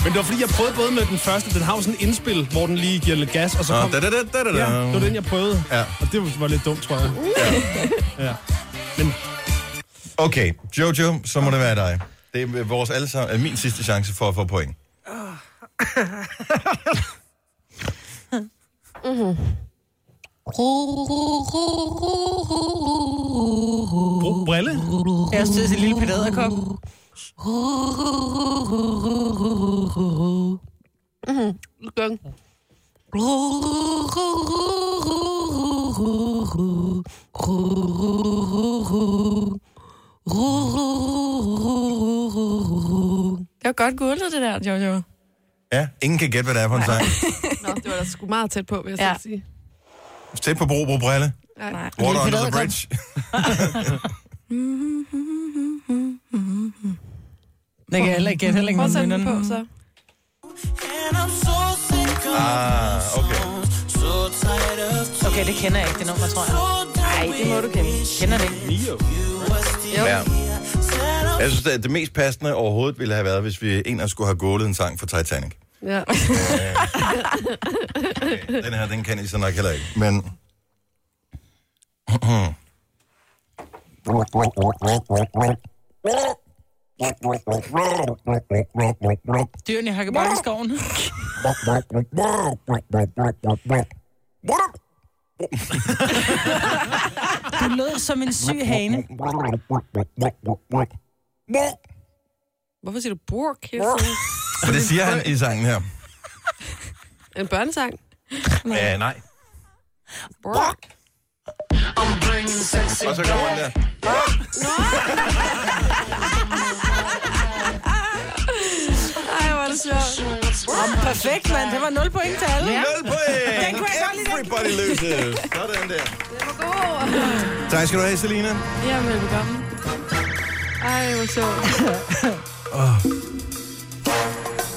[SPEAKER 8] Men det var fordi, jeg prøvede både med den første, den har jo sådan en indspil, hvor den lige giver lidt gas, og så
[SPEAKER 1] Nå,
[SPEAKER 8] kom...
[SPEAKER 1] da, da, da, da, da, da.
[SPEAKER 8] Ja, det var den, jeg prøvede.
[SPEAKER 1] Ja.
[SPEAKER 8] Og det var lidt dumt, tror jeg.
[SPEAKER 1] Okay, Jojo, så må det være dig. Det er vores allesammen, er min sidste chance for at få point.
[SPEAKER 3] Mm.
[SPEAKER 8] Brug brille.
[SPEAKER 3] Jeg har stødt til lille pedaderkop.
[SPEAKER 2] Gang.
[SPEAKER 7] Det var godt gulvet, det der, Jojo.
[SPEAKER 1] Ja, ingen kan gætte, hvad det er på en sang.
[SPEAKER 2] Nå, det var da sgu meget tæt på, vil jeg
[SPEAKER 7] Ja.
[SPEAKER 2] ja. sige.
[SPEAKER 1] Tæt på bro, bro, brille.
[SPEAKER 7] Nej.
[SPEAKER 1] Water under the
[SPEAKER 3] Pedagogisk.
[SPEAKER 1] bridge.
[SPEAKER 3] Det kan jeg heller ikke gætte, heller ikke
[SPEAKER 7] Prøv at
[SPEAKER 3] med
[SPEAKER 7] sætte den
[SPEAKER 3] mynderne.
[SPEAKER 7] på, så.
[SPEAKER 1] Ah, okay.
[SPEAKER 3] Okay, det kender jeg ikke, det nummer, tror jeg.
[SPEAKER 2] Nej, det må du kende.
[SPEAKER 3] Kender det ikke.
[SPEAKER 1] Ja. Jeg synes, at det mest passende overhovedet ville have været, hvis vi en af os skulle have gået en sang fra Titanic.
[SPEAKER 2] Ja.
[SPEAKER 1] Den her, den kan I så nok heller ikke, men...
[SPEAKER 3] Dyrene i Hakkebakkeskoven. Du lød som en syg hane.
[SPEAKER 2] Hvorfor siger du burk? hele tiden?
[SPEAKER 1] For det siger han i sangen her.
[SPEAKER 2] En børnesang?
[SPEAKER 1] Ja, nej.
[SPEAKER 2] Burk.
[SPEAKER 1] Og så kommer han der.
[SPEAKER 7] Ej, hvor er det sjovt.
[SPEAKER 3] Perfekt, mand. Det var 0 point til alle.
[SPEAKER 1] Nul
[SPEAKER 3] Den
[SPEAKER 1] point!
[SPEAKER 3] kunne jeg godt lide, den.
[SPEAKER 1] Everybody loses. Sådan der. Tak skal du have, Selina.
[SPEAKER 7] Ja, velkommen.
[SPEAKER 2] Ej, hvor sjovt.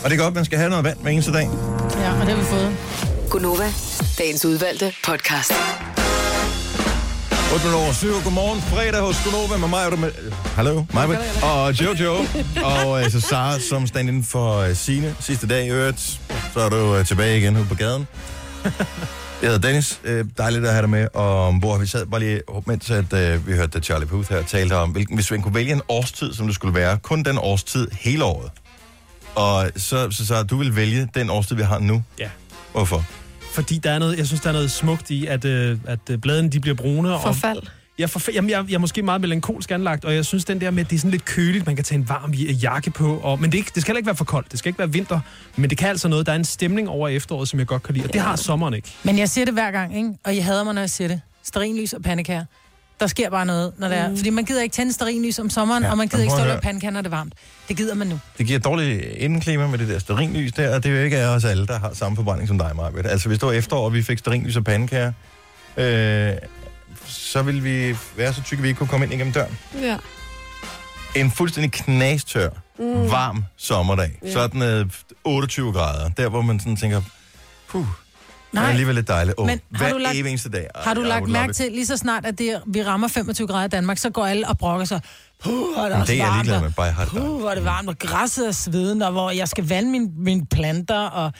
[SPEAKER 1] Og det er godt, man skal have noget vand hver eneste dag.
[SPEAKER 3] Ja, og det har vi fået.
[SPEAKER 4] Gunova, dagens udvalgte podcast.
[SPEAKER 1] 8 over 7. Godmorgen. Fredag hos Gunova med mig. og du med- øh, Hallo, mig med. Og Jojo. og øh, så Sara, som stand inden for øh, Signe. Sidste dag i øvrigt. Så er du øh, tilbage igen ude på gaden. Jeg hedder Dennis. Øh, dejligt at have dig med. Og hvor vi sad bare lige, mens at, øh, vi hørte at Charlie Puth her talte om, hvilken, hvis man kunne vælge en årstid, som det skulle være, kun den årstid hele året. Og så, så, så du vil vælge den årstid, vi har nu.
[SPEAKER 8] Ja.
[SPEAKER 1] Hvorfor?
[SPEAKER 8] Fordi der er noget, jeg synes, der er noget smukt i, at, øh, at øh, bladene de bliver brune. Og
[SPEAKER 7] Forfald.
[SPEAKER 8] jeg, forf- jamen, jeg, jeg er måske meget melankolsk anlagt, og jeg synes, den der med, at det er sådan lidt køligt, man kan tage en varm j- jakke på. Og, men det, er ikke, det skal heller ikke være for koldt, det skal ikke være vinter. Men det kan altså noget, der er en stemning over efteråret, som jeg godt kan lide. Og det har sommeren ikke.
[SPEAKER 3] Men jeg siger det hver gang, ikke? Og jeg hader mig, når jeg siger det. Sterinlys og pandekager. Der sker bare noget, når det
[SPEAKER 2] Mm.
[SPEAKER 3] er. Fordi man gider ikke tænde sterinlys om sommeren,
[SPEAKER 1] Ja,
[SPEAKER 3] ja, og man
[SPEAKER 1] men
[SPEAKER 3] gider ikke
[SPEAKER 1] prøv
[SPEAKER 3] stå
[SPEAKER 1] at
[SPEAKER 3] og
[SPEAKER 1] høre.
[SPEAKER 3] lave pandekager, når det er varmt. Det gider man nu.
[SPEAKER 1] det giver dårligt indeklima med det der sterinlys der, og det er jo ikke os alle, der har samme forbrænding som dig, Marvitt. Altså, hvis det var efterår, og vi fik sterinlys og pandekager, øh, så ville vi være så tykke, at vi ikke kunne komme ind igennem døren.
[SPEAKER 2] Ja.
[SPEAKER 1] En fuldstændig knastør, mm. varm sommerdag.
[SPEAKER 2] Ja.
[SPEAKER 1] Sådan øh, 28 grader. Der, hvor man sådan tænker, puh, det er
[SPEAKER 3] Nej.
[SPEAKER 1] alligevel lidt dejligt. Åh,
[SPEAKER 3] Men har
[SPEAKER 1] hver
[SPEAKER 3] du lagt-
[SPEAKER 1] evig eneste dag. Ej,
[SPEAKER 3] Har du
[SPEAKER 1] jeg
[SPEAKER 3] lagt
[SPEAKER 1] would love
[SPEAKER 3] mærke
[SPEAKER 1] it.
[SPEAKER 3] til, lige så snart, at det, vi rammer 25 grader i Danmark, så går alle og brokker sig. Puh, hvor er det,
[SPEAKER 1] Men
[SPEAKER 3] også
[SPEAKER 1] det er jeg
[SPEAKER 3] varmt,
[SPEAKER 1] ligeglad
[SPEAKER 3] og-
[SPEAKER 1] med, bare jeg har det
[SPEAKER 3] Puh,
[SPEAKER 1] dejligt."
[SPEAKER 3] hvor er det varmt, og græsset er sveden, og hvor jeg skal vande mine, mine planter, og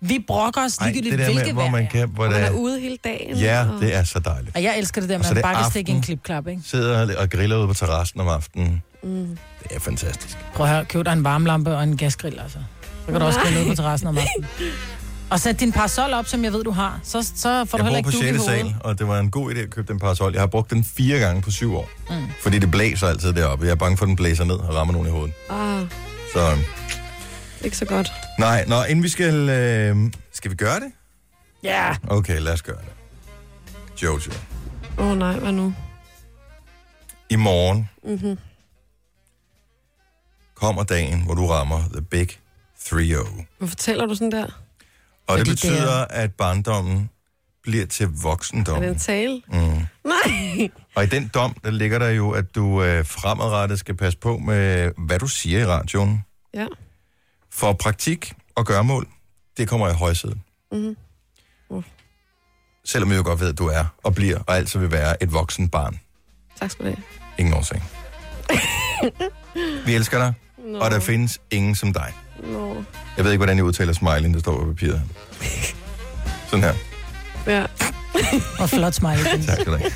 [SPEAKER 3] vi brokker os
[SPEAKER 1] Ej,
[SPEAKER 3] ligegyldigt,
[SPEAKER 1] det der med,
[SPEAKER 3] hvilket
[SPEAKER 1] hvor
[SPEAKER 3] vejr
[SPEAKER 1] man
[SPEAKER 3] er.
[SPEAKER 1] kan... Hvor
[SPEAKER 2] Man
[SPEAKER 1] der,
[SPEAKER 2] er ude hele dagen.
[SPEAKER 1] ja,
[SPEAKER 2] og-
[SPEAKER 1] det er så dejligt.
[SPEAKER 3] Og jeg elsker det der
[SPEAKER 1] så det
[SPEAKER 3] med, at
[SPEAKER 1] er
[SPEAKER 3] bare kan stikke
[SPEAKER 1] aften.
[SPEAKER 3] en klipklap, ikke?
[SPEAKER 1] Sidder og griller ude på terrassen om aftenen. Mm. Det er fantastisk.
[SPEAKER 3] Prøv at høre, køb dig en varmlampe og en gasgrill, altså. Så kan du også grille ud på terrassen om aftenen. Og sæt din parasol op, som jeg ved, du har. Så, så får du
[SPEAKER 1] Jeg
[SPEAKER 3] heller
[SPEAKER 1] bor på
[SPEAKER 3] ikke dug i
[SPEAKER 1] 6.
[SPEAKER 3] hovedet.
[SPEAKER 1] sal, og det var en god idé at købe den parasol. Jeg har brugt den fire gange på syv år, mm. fordi det blæser altid deroppe. Jeg er bange for, at den blæser ned og rammer nogen i hovedet.
[SPEAKER 2] Ah,
[SPEAKER 1] Så øhm,
[SPEAKER 2] ikke så godt.
[SPEAKER 1] nej, nå, inden vi skal... Øh, skal vi gøre det?
[SPEAKER 3] Ja,
[SPEAKER 1] Okay, lad os gøre det. Jojo,
[SPEAKER 2] Åh oh, nej, hvad nu? Mhm.
[SPEAKER 1] i morgen mm-hmm. kommer dagen, hvor du rammer the big 3-0.
[SPEAKER 2] Hvorfor taler du sådan der?
[SPEAKER 1] Og det
[SPEAKER 3] Fordi det
[SPEAKER 1] betyder,
[SPEAKER 3] er-
[SPEAKER 1] at barndommen bliver til
[SPEAKER 2] Er det
[SPEAKER 1] voksendommen.
[SPEAKER 2] en tale?
[SPEAKER 1] Mm.
[SPEAKER 2] Nej!
[SPEAKER 1] Og i den dom, der ligger der jo, at du øh, fremadrettet skal passe på med, hvad du siger i radioen.
[SPEAKER 2] Ja.
[SPEAKER 1] For praktik og gørmål, det kommer i højsædet.
[SPEAKER 2] Mhm. Uff.
[SPEAKER 1] Selvom jeg jo godt ved, at du er og bliver og altid vil være et voksen barn.
[SPEAKER 2] Tak skal du have.
[SPEAKER 1] Ingen årsag. Vi elsker dig,
[SPEAKER 2] Nå.
[SPEAKER 1] og der findes ingen som dig.
[SPEAKER 2] Nå.
[SPEAKER 1] Jeg ved ikke, hvordan jeg udtaler smileyen, der står på papiret. Sådan her.
[SPEAKER 2] Ja.
[SPEAKER 3] Og flot smiley.
[SPEAKER 1] Tak skal du have.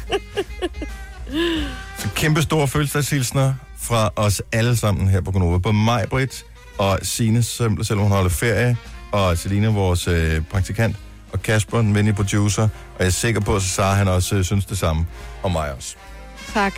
[SPEAKER 1] Så kæmpe store fødselsdagshilsner fra os alle sammen her på Gonova. På mig, Britt, og Signe, som- selvom hun holder ferie, og Selina, vores øh, praktikant, og Kasper, en venlig producer. Og jeg er sikker på, at Sara, han også øh, synes det samme. Og mig også.
[SPEAKER 2] Tak.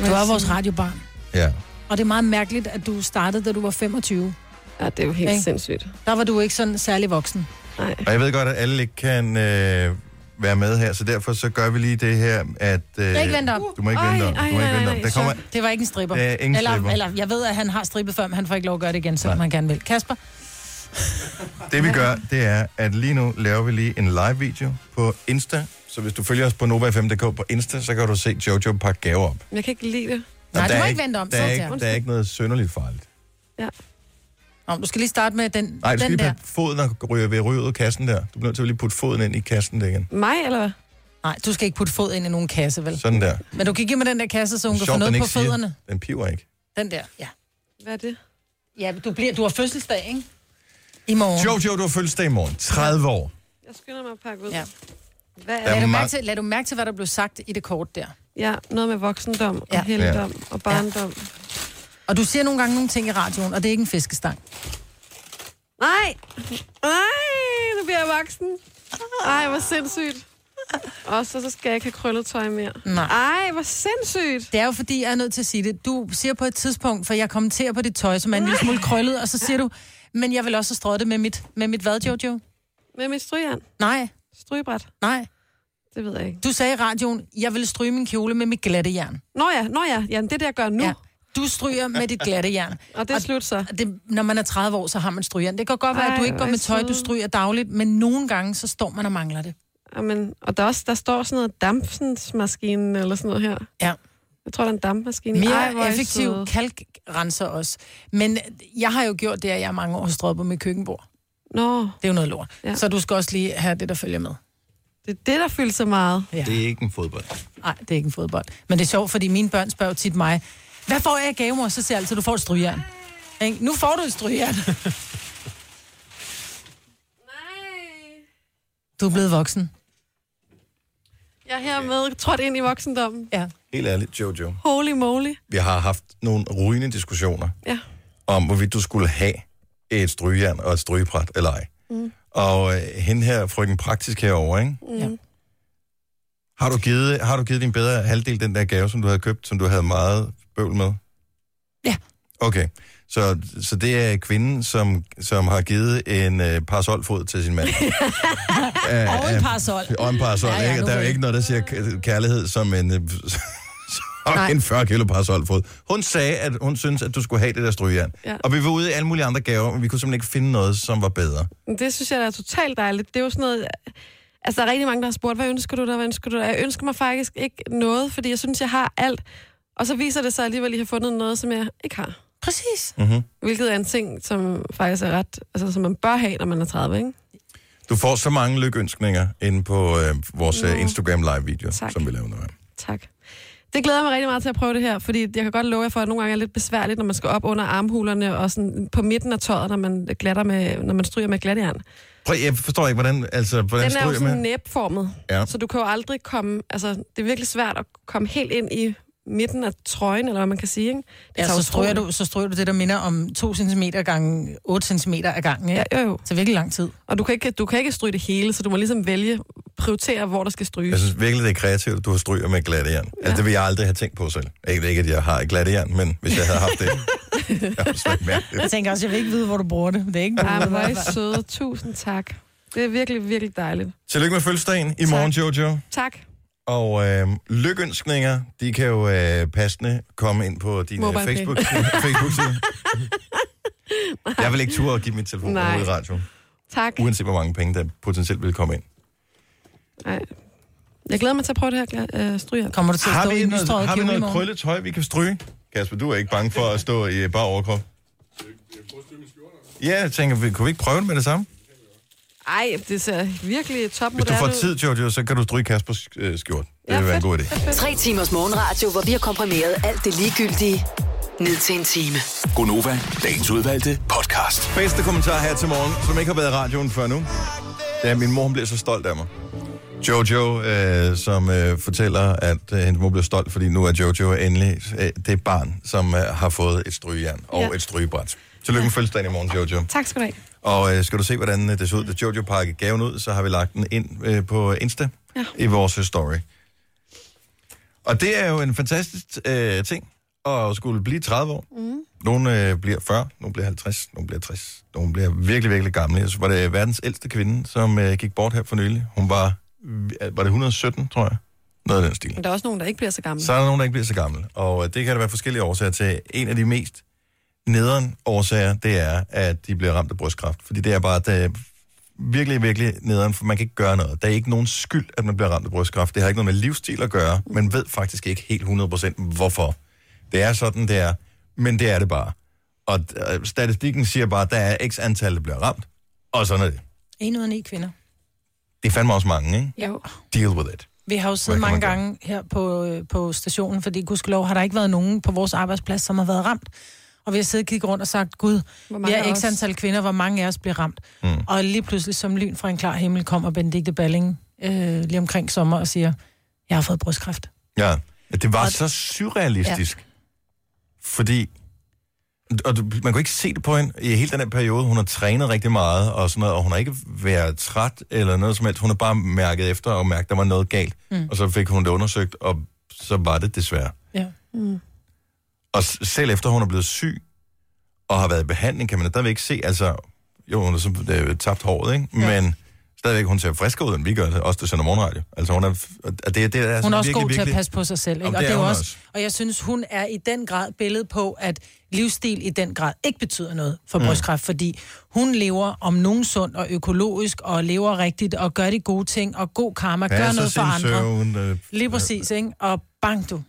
[SPEAKER 3] Du er vores radiobarn.
[SPEAKER 1] Ja.
[SPEAKER 3] Og det er meget mærkeligt, at du startede, da du var 25.
[SPEAKER 2] Ja, det er jo helt
[SPEAKER 3] Ikke?
[SPEAKER 2] sindssygt.
[SPEAKER 3] Der var du ikke sådan særlig voksen.
[SPEAKER 1] Øh,
[SPEAKER 2] Nej.
[SPEAKER 1] Og jeg ved godt, at alle ikke kan øh, være med her, så derfor så gør vi lige det her, at... Øh,
[SPEAKER 3] ikke vente om.
[SPEAKER 1] Du må ikke vente
[SPEAKER 2] Ej,
[SPEAKER 1] om. Du
[SPEAKER 2] ej,
[SPEAKER 1] må ikke
[SPEAKER 2] nej,
[SPEAKER 1] vente om.
[SPEAKER 2] nej,
[SPEAKER 1] Der kommer
[SPEAKER 3] Det var ikke en stripper.
[SPEAKER 1] Det er ingen
[SPEAKER 3] eller,
[SPEAKER 1] stripper.
[SPEAKER 3] eller jeg ved, at han har strippet før, men han får ikke lov at gøre det igen, selvom
[SPEAKER 1] Nej.
[SPEAKER 3] han gerne vil. Kasper,
[SPEAKER 1] Det vi gør, det er, at lige nu laver vi lige en live-video på Insta. Så hvis du følger os på NovaFM.dk på Insta, så kan du se Jojo pakke gaver op.
[SPEAKER 2] Men jeg kan ikke lide det.
[SPEAKER 3] Nej,
[SPEAKER 1] der
[SPEAKER 3] du må
[SPEAKER 1] er
[SPEAKER 3] ikke vente om,
[SPEAKER 1] Der
[SPEAKER 3] så
[SPEAKER 1] er,
[SPEAKER 3] til
[SPEAKER 1] ikke,
[SPEAKER 3] jer.
[SPEAKER 1] der er ikke noget synderligt farligt.
[SPEAKER 3] Nå, du skal lige starte med den,
[SPEAKER 1] Nej, du skal
[SPEAKER 3] den
[SPEAKER 1] lige
[SPEAKER 3] der.
[SPEAKER 1] putte foden og ryge ved ryge ud af kassen der. Du bliver nødt til at lige putte foden ind i kassen der igen.
[SPEAKER 2] Mig, eller hvad?
[SPEAKER 3] Nej, du skal ikke putte fod ind i nogen kasse, vel?
[SPEAKER 1] Sådan der.
[SPEAKER 3] Men du kan give mig den der kasse, så hun kan få
[SPEAKER 1] den
[SPEAKER 3] noget på
[SPEAKER 1] ikke siger.
[SPEAKER 3] fødderne.
[SPEAKER 1] Den piver ikke.
[SPEAKER 3] Den der, ja.
[SPEAKER 2] Hvad er det?
[SPEAKER 3] Ja, du, bliver, du har fødselsdag, ikke? I morgen.
[SPEAKER 1] Jojo, du har fødselsdag i morgen. 30 år.
[SPEAKER 2] Jeg skynder mig at pakke ud.
[SPEAKER 3] Ja.
[SPEAKER 2] Hvad er
[SPEAKER 1] Ja.
[SPEAKER 3] Lad
[SPEAKER 2] det?
[SPEAKER 3] du,
[SPEAKER 1] meget-
[SPEAKER 3] mærke til, lad du mærke til, hvad der blev sagt i det kort der.
[SPEAKER 2] Ja, noget med voksendom og
[SPEAKER 3] Ja.
[SPEAKER 2] ja. helligdom og barndom.
[SPEAKER 3] Og du siger nogle gange nogle ting i radioen, og det er ikke en fiskestang.
[SPEAKER 2] Nej! Nej, nu bliver jeg voksen. Ej, hvor sindssygt. Og så, så skal jeg ikke have krøllet tøj mere.
[SPEAKER 3] Nej.
[SPEAKER 2] Ej, hvor sindssygt.
[SPEAKER 3] Det er jo fordi, jeg er nødt til at sige det. Du siger på et tidspunkt, for jeg kommenterer på dit tøj, som er en lille smule krøllet, og så siger du, men jeg vil også have strøget det med mit, med mit hvad, Jojo?
[SPEAKER 2] Med mit strygejern.
[SPEAKER 3] Nej,
[SPEAKER 2] Strygebræt.
[SPEAKER 3] nej.
[SPEAKER 2] Det ved jeg ikke.
[SPEAKER 3] Du sagde i radioen, jeg ville stryge min kjole med mit glatte jern.
[SPEAKER 2] Nå ja, nå ja. Jamen, det er det, jeg gør nu. Ja.
[SPEAKER 3] Du stryger med dit glatte jern.
[SPEAKER 2] Og det er slut så.
[SPEAKER 3] Og Det, når man er 30 år, så har man stryger. Det kan godt være, at du
[SPEAKER 2] Ej,
[SPEAKER 3] ikke går
[SPEAKER 2] hvor
[SPEAKER 3] med
[SPEAKER 2] er
[SPEAKER 3] tøj, du
[SPEAKER 2] søde.
[SPEAKER 3] stryger dagligt, men nogle gange, så står man og mangler det.
[SPEAKER 2] Amen. Og der, er også, der står sådan noget dampsensmaskine eller sådan noget her.
[SPEAKER 3] Ja.
[SPEAKER 2] Jeg tror, der er en dampmaskine.
[SPEAKER 3] Mere
[SPEAKER 2] Ej, hvor er
[SPEAKER 3] Ej,
[SPEAKER 2] I
[SPEAKER 3] effektiv
[SPEAKER 2] søde.
[SPEAKER 3] kalkrenser også. Men jeg har jo gjort det, at jeg i mange år har strøget på mit køkkenbord.
[SPEAKER 2] Nå,
[SPEAKER 3] Det er jo noget lort. Ja.
[SPEAKER 2] Ja.
[SPEAKER 3] Så du skal også lige have det, der følger med.
[SPEAKER 2] det er det, der fylder så meget.
[SPEAKER 3] Ja.
[SPEAKER 1] Det er ikke en fodbold.
[SPEAKER 3] Nej, det er ikke en fodbold. Men det er sjovt, fordi mine børn spørger tit mig, hvad får jeg i gave, mor? Så siger jeg altid, du får et strygjern. Ikke? Nu får du et strygjern.
[SPEAKER 2] Nej.
[SPEAKER 3] Du er blevet voksen.
[SPEAKER 2] Jeg er hermed trådt ind i voksendommen.
[SPEAKER 3] Ja.
[SPEAKER 1] Helt ærligt, Jojo.
[SPEAKER 2] Holy moly.
[SPEAKER 1] Vi har haft nogle rygende diskussioner
[SPEAKER 2] Ja.
[SPEAKER 1] om, hvorvidt du skulle have et strygejern og et strygebræt eller ej. Mm. Og øh, hende her, frøken praktisk herover, ikke?
[SPEAKER 2] Mm.
[SPEAKER 3] Ja.
[SPEAKER 2] ja.
[SPEAKER 1] Har du, givet, har du givet din bedre halvdel den der gave, som du havde købt, som du havde meget bøvl med?
[SPEAKER 3] Ja.
[SPEAKER 1] Okay, så, så det er kvinden, som, som har givet en øh, parasolfod til sin mand. Æ,
[SPEAKER 3] Og en parasol.
[SPEAKER 1] Og en parasol,
[SPEAKER 3] Ja,
[SPEAKER 1] ja,
[SPEAKER 3] ja,
[SPEAKER 1] ikke?
[SPEAKER 3] nu
[SPEAKER 1] Og Der er jo
[SPEAKER 3] ved-
[SPEAKER 1] ikke noget, der siger k- kærlighed som en, øh, som
[SPEAKER 3] Nej.
[SPEAKER 1] en 40 kilo parasolfod. Hun sagde, at hun synes, at du skulle have det der strygejern.
[SPEAKER 2] Ja.
[SPEAKER 1] Og vi var ude i alle mulige andre gaver, men vi kunne simpelthen ikke finde noget, som var bedre.
[SPEAKER 2] Men Det synes jeg der er totalt dejligt. Det er jo sådan noget... Altså, der er rigtig mange, der har spurgt, hvad ønsker du dig, hvad ønsker du dig? Jeg ønsker mig faktisk ikke noget, fordi jeg synes, jeg har alt. Og så viser det sig alligevel, at jeg har fundet noget, som jeg ikke har.
[SPEAKER 3] Præcis.
[SPEAKER 1] Mm-hmm.
[SPEAKER 2] Hvilket er en ting, som faktisk er ret... Altså, som man bør have, når man er 30, ikke?
[SPEAKER 1] Du får så mange lykønskninger inde på øh, vores øh,
[SPEAKER 2] Nå.
[SPEAKER 1] Instagram live-video,
[SPEAKER 2] Tak.
[SPEAKER 1] som vi laver nu. her.
[SPEAKER 2] Tak. Det glæder jeg mig rigtig meget til at prøve det her, fordi jeg kan godt love jer for, at nogle gange er det lidt besværligt, når man skal op under armhulerne og sådan på midten af tøjet, når man, glatter med, når man stryger med glatjern.
[SPEAKER 1] Prøv, jeg forstår ikke, hvordan, altså, hvordan
[SPEAKER 2] Den er jo
[SPEAKER 1] stryger
[SPEAKER 2] sådan
[SPEAKER 1] man?
[SPEAKER 2] næbformet,
[SPEAKER 1] Ja.
[SPEAKER 2] så du kan jo aldrig komme... Altså, det er virkelig svært at komme helt ind i midten af trøjen, eller hvad man kan sige, ikke? Det
[SPEAKER 3] Ja,
[SPEAKER 2] tager
[SPEAKER 3] så
[SPEAKER 2] jo
[SPEAKER 3] stryger,
[SPEAKER 2] stråler.
[SPEAKER 3] du, så stryger du det, der minder om 2 cm gange 8 cm ad gangen. Ikke?
[SPEAKER 2] Ja, jo, jo.
[SPEAKER 3] Så virkelig lang tid.
[SPEAKER 2] Og du kan, ikke, du kan ikke stryge det hele, så du må ligesom vælge, prioritere, hvor der skal
[SPEAKER 1] Jeg
[SPEAKER 2] stryges.
[SPEAKER 1] synes virkelig, det er kreativt, at du har stryger med glatte jern. Altså, det vil jeg aldrig have tænkt på selv. Ikke, ikke at jeg har et glatte jern, men hvis jeg havde haft det, jeg var slet ikke mærkeligt.
[SPEAKER 3] Jeg tænker også, jeg vil ikke vide, hvor du bruger det. Det er ikke
[SPEAKER 2] Ej,
[SPEAKER 3] noget.
[SPEAKER 2] men hvor er I søde. Tusind tak. Det er virkelig, virkelig dejligt.
[SPEAKER 1] Tillykke med fødselsdagen i morgen, Jojo.
[SPEAKER 2] Tak.
[SPEAKER 1] Og øh, lykønskninger, de kan jo øh, passende komme ind på din øh,
[SPEAKER 2] MobilePay.
[SPEAKER 1] Facebook- Facebook-side. Jeg vil ikke turde at give mit telefon
[SPEAKER 2] Nej.
[SPEAKER 1] ud i radioen,
[SPEAKER 2] Tak.
[SPEAKER 1] uanset hvor mange penge, der potentielt vil komme ind.
[SPEAKER 2] Nej. Jeg glæder mig til at prøve det her gla- øh, stryger.
[SPEAKER 3] Kommer du til at
[SPEAKER 1] Har
[SPEAKER 3] stå
[SPEAKER 1] vi,
[SPEAKER 3] i en
[SPEAKER 1] noget,
[SPEAKER 3] nystrøget
[SPEAKER 1] har vi
[SPEAKER 3] kjole i
[SPEAKER 1] noget
[SPEAKER 3] morgen?
[SPEAKER 1] krøllet tøj, vi kan stryge? Kasper, du er ikke bange for at stå i bare overkrop? Ja, jeg tænker, vi- kunne vi ikke prøve det med det samme?
[SPEAKER 2] Ej, det ser virkelig
[SPEAKER 1] Hvis
[SPEAKER 2] topmoderne
[SPEAKER 1] du
[SPEAKER 2] ud.
[SPEAKER 1] får tid, Jojo, så kan du stryge Kaspers øh, skjort. Det
[SPEAKER 2] Ja,
[SPEAKER 1] vil være en
[SPEAKER 2] fedt.
[SPEAKER 1] god idé.
[SPEAKER 4] Tre timers morgenradio, hvor vi har komprimeret alt det ligegyldige ned til en time.
[SPEAKER 5] Gonova, dagens udvalgte podcast.
[SPEAKER 1] Bedste kommentar her til morgen, som ikke har været i radioen før nu. Ja, min mor hun bliver så stolt af mig. Jojo, øh, som øh, fortæller, at øh, hendes mor bliver stolt, fordi nu er Jojo endelig øh, det barn, som øh, har fået et strygejern og
[SPEAKER 2] Ja.
[SPEAKER 1] et strygebræt. Tillykke med fødselsdagen i morgen, Jojo.
[SPEAKER 2] Tak skal du have.
[SPEAKER 1] Og øh, skal du se, hvordan øh, det så ud, da Jojo pakkede gaven ud, så har vi lagt den ind øh, på Insta ja. i vores øh, story. Og det er jo en fantastisk øh, ting at skulle blive 30 år. Mm. Nogle øh, bliver 40, nogle bliver 50, nogle bliver 60, nogle bliver virkelig, virkelig gamle. Så var det verdens ældste kvinde, som øh, gik bort her for nylig. Hun var, var det 117, tror jeg? Noget af den stil.
[SPEAKER 2] Men der er også nogen, der ikke bliver så gamle.
[SPEAKER 1] Så er der nogen, der ikke bliver så gammel. Og øh, det kan der være forskellige årsager til. En af de mest nederen årsager, det er, at de bliver ramt af brystkræft. Fordi det er bare det er virkelig, virkelig nederen, for man kan ikke gøre noget. Der er ikke nogen skyld, at man bliver ramt af brystkræft. Det har ikke noget med livsstil at gøre. Man ved faktisk ikke helt 100% hvorfor. Det er sådan, det er. Men det er det bare. Og øh, statistikken siger bare, at der er x antal, der bliver ramt. Og sådan er det.
[SPEAKER 3] En ud af ni kvinder.
[SPEAKER 1] Det er fandme også mange, ikke?
[SPEAKER 3] Jo.
[SPEAKER 1] Deal with it.
[SPEAKER 3] Vi har jo siddet
[SPEAKER 1] Hvad kan
[SPEAKER 3] mange
[SPEAKER 1] man gøre?
[SPEAKER 3] gange her på, øh, på stationen, fordi gudskelov har der ikke været nogen på vores arbejdsplads, som har været ramt. Og vi har siddet og kigget rundt og sagt, gud, vi
[SPEAKER 2] mange af
[SPEAKER 3] er
[SPEAKER 2] os?"
[SPEAKER 3] x antal kvinder, hvor mange af os bliver ramt. Mm. Og lige pludselig som lyn fra en klar himmel kommer Benedikte Balling øh, lige omkring sommer og siger, jeg har fået brystkræft.
[SPEAKER 1] Ja, det var
[SPEAKER 3] Og-
[SPEAKER 1] så surrealistisk. Ja. Fordi, og du, man kunne ikke se det på hende i hele den her periode. Hun har trænet rigtig meget og sådan noget, og hun har ikke været træt eller noget som helst. Hun har bare mærket efter og mærket, at der var noget galt. Mm. Og så fik hun det undersøgt, og så var det desværre.
[SPEAKER 3] Ja.
[SPEAKER 1] Og s- selv efter hun er blevet syg og har været i behandling, kan man stadigvæk se, altså, jo, hun har så øh, tabt håret, ikke? Ja. Men stadigvæk, hun ser friskere ud, end vi gør, også det sender morgenradio. Altså, hun er, f- og det, det er altså
[SPEAKER 3] Hun er også
[SPEAKER 1] virkelig,
[SPEAKER 3] god
[SPEAKER 1] virkelig,
[SPEAKER 3] til at passe på sig selv. Ikke?
[SPEAKER 1] Jamen,
[SPEAKER 3] og,
[SPEAKER 1] det
[SPEAKER 3] det
[SPEAKER 1] er
[SPEAKER 3] er jo
[SPEAKER 1] hun
[SPEAKER 3] også,
[SPEAKER 1] også.
[SPEAKER 3] og jeg synes, hun er i den grad billede på, at livsstil i den grad ikke betyder noget for mm. brystkræft, fordi hun lever om nogen sund og økologisk, og lever rigtigt, og gør de gode ting, og god karma, ja, gør
[SPEAKER 1] passer
[SPEAKER 3] noget for
[SPEAKER 1] sin
[SPEAKER 3] andre.
[SPEAKER 1] søvn, øh,
[SPEAKER 3] Lige præcis, ikke? Og bang du.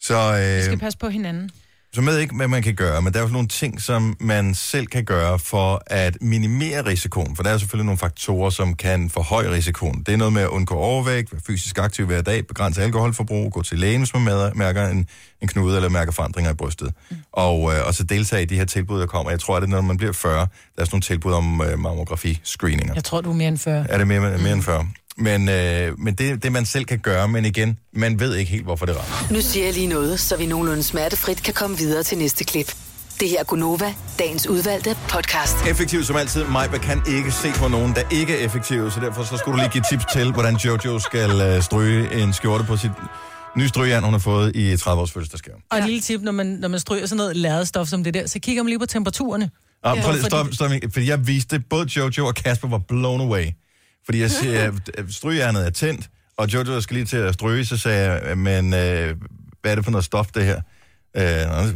[SPEAKER 1] Så,
[SPEAKER 3] Vi skal
[SPEAKER 1] øh,
[SPEAKER 3] passe på hinanden.
[SPEAKER 1] så med ikke, hvad man kan gøre, men der er jo nogle ting, som man selv kan gøre for at minimere risikoen. For der er selvfølgelig nogle faktorer, som kan forhøje risikoen. Det er noget med at undgå overvægt, være fysisk aktiv hver dag, begrænse alkoholforbrug, gå til lægen, hvis man mad- mærker en, en knude eller mærker forandringer i brystet. Mm. Og, øh, og så deltage i de her tilbud, der kommer. Jeg tror, at det, er, når man bliver 40, der er sådan nogle tilbud om øh, mammografi-screeninger.
[SPEAKER 3] Jeg tror, du er mere end 40.
[SPEAKER 1] er det mere, mere
[SPEAKER 3] Mm.
[SPEAKER 1] end 40. Men, øh, men det, det, man selv kan gøre, men igen, man ved ikke helt, hvorfor det rammer.
[SPEAKER 4] Nu siger jeg lige noget, så vi nogenlunde smertefrit kan komme videre til næste klip. Det her er Gunova, dagens udvalgte podcast.
[SPEAKER 1] Effektiv som altid. Majba kan ikke se på nogen, der ikke er effektiv, så derfor så skulle du lige give tips til, hvordan Jojo skal øh, stryge en skjorte på sit nye strygejern, hun har fået i 30 års fødselsdagsgave.
[SPEAKER 3] Og et lille tip, når man, når man stryger sådan noget lavet stof som det der, så kigger man lige på temperaturerne.
[SPEAKER 1] Ah, prøv lige, stop,
[SPEAKER 3] fordi-
[SPEAKER 1] stop, fordi jeg viste både Jojo og Kasper var blown away. Fordi jeg siger, at strygejernet er tændt, og Jojo skal lige til at stryge, så sagde jeg, men øh, hvad er det for noget stof, det her? Øh,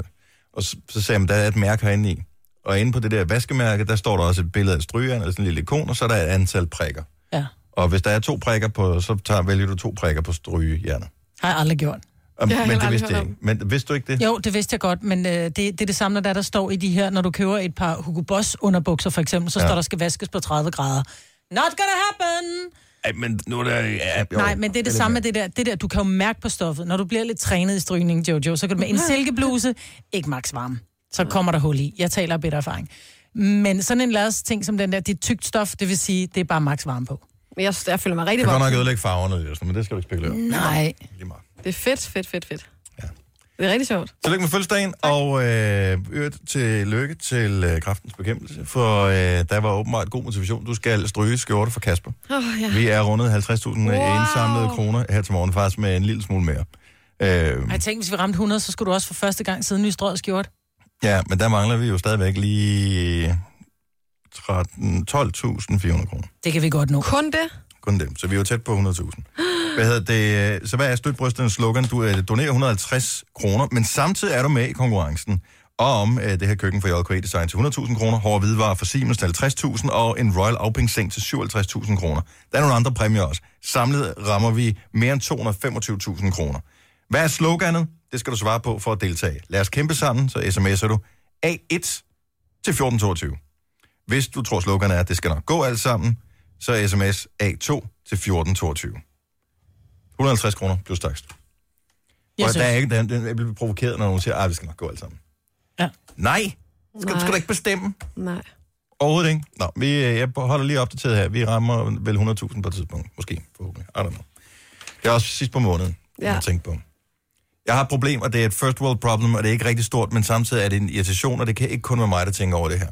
[SPEAKER 1] og så, så sagde jeg, "Men der er et mærke herinde i. Og inde på det der vaskemærke, der står der også et billede af strygeren, eller sådan en lille ikon, og så er der et antal prikker.
[SPEAKER 3] Ja,
[SPEAKER 1] Og hvis der er to prikker på, så tager, vælger du to prikker på strygejerner.
[SPEAKER 3] har jeg aldrig gjort.
[SPEAKER 1] Um,
[SPEAKER 2] har heller
[SPEAKER 1] men det
[SPEAKER 2] aldrig
[SPEAKER 1] vidste
[SPEAKER 2] hørt
[SPEAKER 1] jeg
[SPEAKER 2] om.
[SPEAKER 1] ikke. Men vidste du ikke det?
[SPEAKER 3] Jo, det vidste jeg godt, men øh, det, det er det samme, når der, der står i de her, når du køber et par Hugo Boss underbukser for eksempel, så ja. står der, skal vaskes på 30 grader. Not gonna happen!
[SPEAKER 1] Ej, men nu er der... Ja, jo,
[SPEAKER 3] Nej, men det er det samme med det der, det der, du kan jo mærke på stoffet. Når du bliver lidt trænet i strygning, Jojo, så kan du med en silkebluse, ikke max varme, så kommer der hul i. Jeg taler af bedre erfaring. Men sådan en lads ting som den der, det er tykt stof, det vil sige, det er bare max varme på.
[SPEAKER 2] Men jeg, jeg føler mig rigtig
[SPEAKER 1] Det kan godt nok
[SPEAKER 2] voksen.
[SPEAKER 1] ødelægge farverne, lidt og sådan, men det skal du ikke spekulere om.
[SPEAKER 3] Nej.
[SPEAKER 1] Lige meget.
[SPEAKER 2] Det er fedt, fedt, fedt, fedt.
[SPEAKER 1] Ja.
[SPEAKER 2] Det er rigtig sjovt.
[SPEAKER 1] Tillykke med fødselsdagen, og øh, øvrigt til lykke til øh, kraftens bekæmpelse, for øh, der var åbenbart god motivation. Du skal stryge skjorte for Kasper.
[SPEAKER 2] Åh, oh, ja.
[SPEAKER 1] Vi er rundet 50.000 wow. indsamlede kroner her til morgen, faktisk med en lille smule mere. Øh,
[SPEAKER 3] Jeg tænkte, hvis vi ramte 100, så skulle du også for første gang siden ny strøget skjort.
[SPEAKER 1] ja, men der mangler vi jo stadigvæk lige 13 12.400 kroner.
[SPEAKER 3] Det kan vi godt nå.
[SPEAKER 2] Kun det?
[SPEAKER 1] Kun dem. Så vi er jo tæt på 100.000. Hvad hedder det? øh, Så hvad er støtbrystens slogan? Du øh, donerer 150 kroner, men samtidig er du med i konkurrencen og om øh, det her køkken fra JK Design til 100.000 kroner, hårde hvidevarer fra Siemens til 50.000 og en Royal Auping-seng til 57.000 kroner. Der er nogle andre præmier også. Samlet rammer vi mere end 225.000 kroner. Hvad er sloganet? Det skal du svare på for at deltage. Lad os kæmpe sammen, så sms'er du A1 til 1422. Hvis du tror, sloganet er, at det skal nok gå alt sammen, så er sms A2 til 1422. 150 kroner plus takst.
[SPEAKER 3] Jeg
[SPEAKER 1] Og der
[SPEAKER 3] synes,
[SPEAKER 1] er ikke, der, der- jeg bliver provokeret, når nogen siger, at det skal nok gå alt sammen.
[SPEAKER 3] Ja.
[SPEAKER 1] Nej! Skal, du skal
[SPEAKER 2] Nej.
[SPEAKER 1] du ikke bestemme?
[SPEAKER 2] Nej.
[SPEAKER 1] Overhovedet ikke. Nå, vi, øh, jeg holder lige opdateret her. Vi rammer vel 100.000 på et tidspunkt. Måske, forhåbentlig. I don't know. Det er også sidst på måneden, ja.
[SPEAKER 2] Ja.
[SPEAKER 1] jeg tænker på. Jeg har et problem, og det er et first world problem, og det er ikke rigtig stort, men samtidig er det en irritation, og det kan ikke kun være mig, der tænker over det her.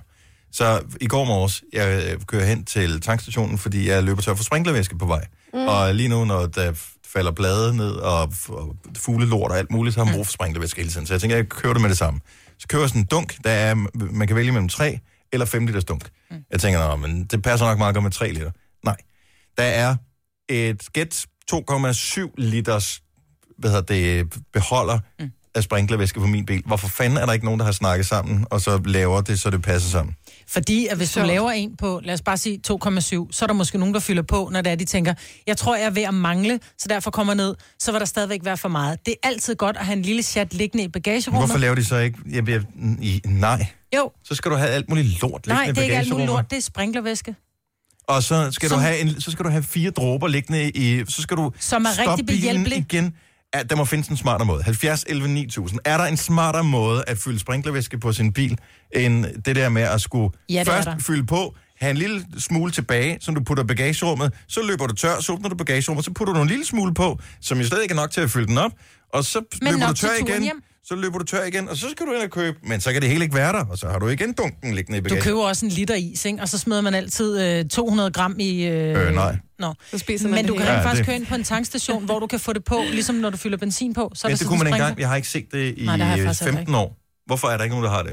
[SPEAKER 1] Så i går morges, jeg øh, kører hen til tankstationen, fordi jeg løber tør for sprinklervæske på vej. Mm. Og lige nu, når der f- falder blade ned og, f- og fuglelort og alt muligt, så har man brug for sprinklervæske hele tiden. Så jeg tænker, jeg kører det med det samme. Så kører jeg sådan en dunk, der er, man kan vælge mellem 3 eller 5 liters dunk. Mm. Jeg tænker, Nå, men det passer nok meget godt med 3 liter. Nej. Der er et gæt 2,7 liters hvad hedder det, beholder mm. af sprinklervæske på min bil. Hvorfor fanden er der ikke nogen, der har snakket sammen, og så laver det, så det passer sammen?
[SPEAKER 3] Fordi at hvis du
[SPEAKER 2] Så-
[SPEAKER 3] laver en på, lad os bare sige 2,7, så er der måske nogen, der fylder på, når det er, de tænker, jeg tror, jeg er ved at mangle, så derfor kommer ned, så vil der stadigvæk være for meget. Det er altid godt at have en lille chat liggende i bagagerummet.
[SPEAKER 1] Hvorfor laver de så ikke? Jeg bliver, i, nej.
[SPEAKER 3] Jo,
[SPEAKER 1] Så skal du have alt muligt lort liggende
[SPEAKER 3] nej, det er
[SPEAKER 1] i
[SPEAKER 3] ikke alt muligt
[SPEAKER 1] bagagerummet.
[SPEAKER 3] lort, det er sprinklervæske,
[SPEAKER 1] Og så skal,
[SPEAKER 3] Som-
[SPEAKER 1] du have en, så skal du have fire dråber liggende i... Så skal du
[SPEAKER 3] Som er
[SPEAKER 1] stoppe
[SPEAKER 3] rigtig
[SPEAKER 1] bilen
[SPEAKER 3] behjælpelig.
[SPEAKER 1] igen. Ja, der må findes en smartere måde. 70, 11, 9000. Er der en smartere måde at fylde sprinklervæske på sin bil, end det der med at skulle
[SPEAKER 3] Ja, det er
[SPEAKER 1] først
[SPEAKER 3] der.
[SPEAKER 1] fylde på, have en lille smule tilbage, som du putter i bagagerummet, så løber du tør, så åbner du bagagerummet, så putter du en lille smule på, som jo slet ikke er nok til at fylde den op, og så
[SPEAKER 3] Men
[SPEAKER 1] løber du
[SPEAKER 3] nok til
[SPEAKER 1] tør
[SPEAKER 3] turen
[SPEAKER 1] igen,
[SPEAKER 3] hjem.
[SPEAKER 1] så løber du tør igen, og så skal du ind og købe, men så kan det hele ikke være der, og så har du igen dunken liggende i
[SPEAKER 3] Du
[SPEAKER 1] bagagerummet.
[SPEAKER 3] køber også en liter is, ikke? og så smider man altid øh, 200 gram i...
[SPEAKER 1] Øh, nej.
[SPEAKER 3] Nå.
[SPEAKER 2] Så spiser man
[SPEAKER 3] Men
[SPEAKER 2] det
[SPEAKER 3] du kan
[SPEAKER 2] hele.
[SPEAKER 3] rent
[SPEAKER 1] Ja,
[SPEAKER 3] faktisk
[SPEAKER 1] det-
[SPEAKER 3] køre ind på en tankstation, hvor du kan få det på, ligesom når du fylder benzin på. Så er
[SPEAKER 1] Men
[SPEAKER 3] der
[SPEAKER 1] det
[SPEAKER 3] sådan
[SPEAKER 1] kunne man
[SPEAKER 3] en
[SPEAKER 1] ikke
[SPEAKER 3] sprinkler.
[SPEAKER 1] engang. Jeg har ikke set det i
[SPEAKER 3] Nej, det har jeg
[SPEAKER 1] Nej,
[SPEAKER 3] faktisk heller
[SPEAKER 1] 15 år. Hvorfor er der ikke nogen, der har det?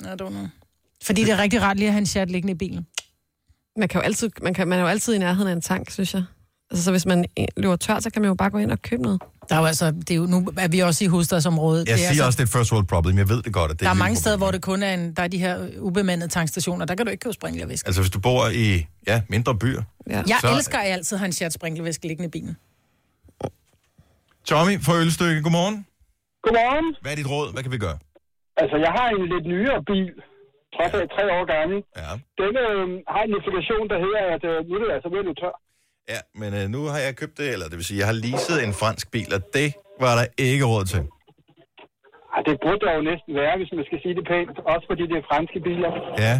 [SPEAKER 3] I don't know. Fordi det er rigtig rart lige at have en chat liggende i bilen.
[SPEAKER 2] Man, kan jo altid, man, kan, man er jo altid i nærheden af en tank, synes jeg. Altså, så hvis man eh, løber tør, så kan man jo bare gå ind og købe noget.
[SPEAKER 3] Der er jo altså, det er jo, nu er vi også i hovedstadsområdet.
[SPEAKER 1] Jeg
[SPEAKER 3] det er
[SPEAKER 1] siger
[SPEAKER 3] altså,
[SPEAKER 1] også, det er et first world problem. Jeg ved det godt, at det
[SPEAKER 3] der er
[SPEAKER 1] et
[SPEAKER 3] mange
[SPEAKER 1] lille
[SPEAKER 3] steder, hvor
[SPEAKER 1] problem.
[SPEAKER 3] det kun er en, der er de her øh, ubemandede tankstationer. Der kan du ikke købe sprinklervæske.
[SPEAKER 1] Altså, hvis du bor i ja, mindre byer.
[SPEAKER 2] Ja.
[SPEAKER 3] Jeg
[SPEAKER 1] så-
[SPEAKER 3] elsker, at jeg altid har en chat sprinklervæske liggende i bilen.
[SPEAKER 1] Tommy fra Ølstykke, godmorgen.
[SPEAKER 9] Godmorgen.
[SPEAKER 1] Hvad er dit råd? Hvad kan vi gøre?
[SPEAKER 9] Altså, jeg har en lidt nyere bil, trods alt tre år gammel.
[SPEAKER 1] Ja,
[SPEAKER 9] Den øh, har en notifikation, der hedder, at øh, nu er det altså ved at løbe tør.
[SPEAKER 1] ja men øh, nu har jeg købt det, eller det vil sige, jeg har leaset en fransk bil, og det var der ikke råd til.
[SPEAKER 9] Ej, det burde der jo næsten være, hvis man skal sige det pænt. Også fordi det er franske biler.
[SPEAKER 1] Ja,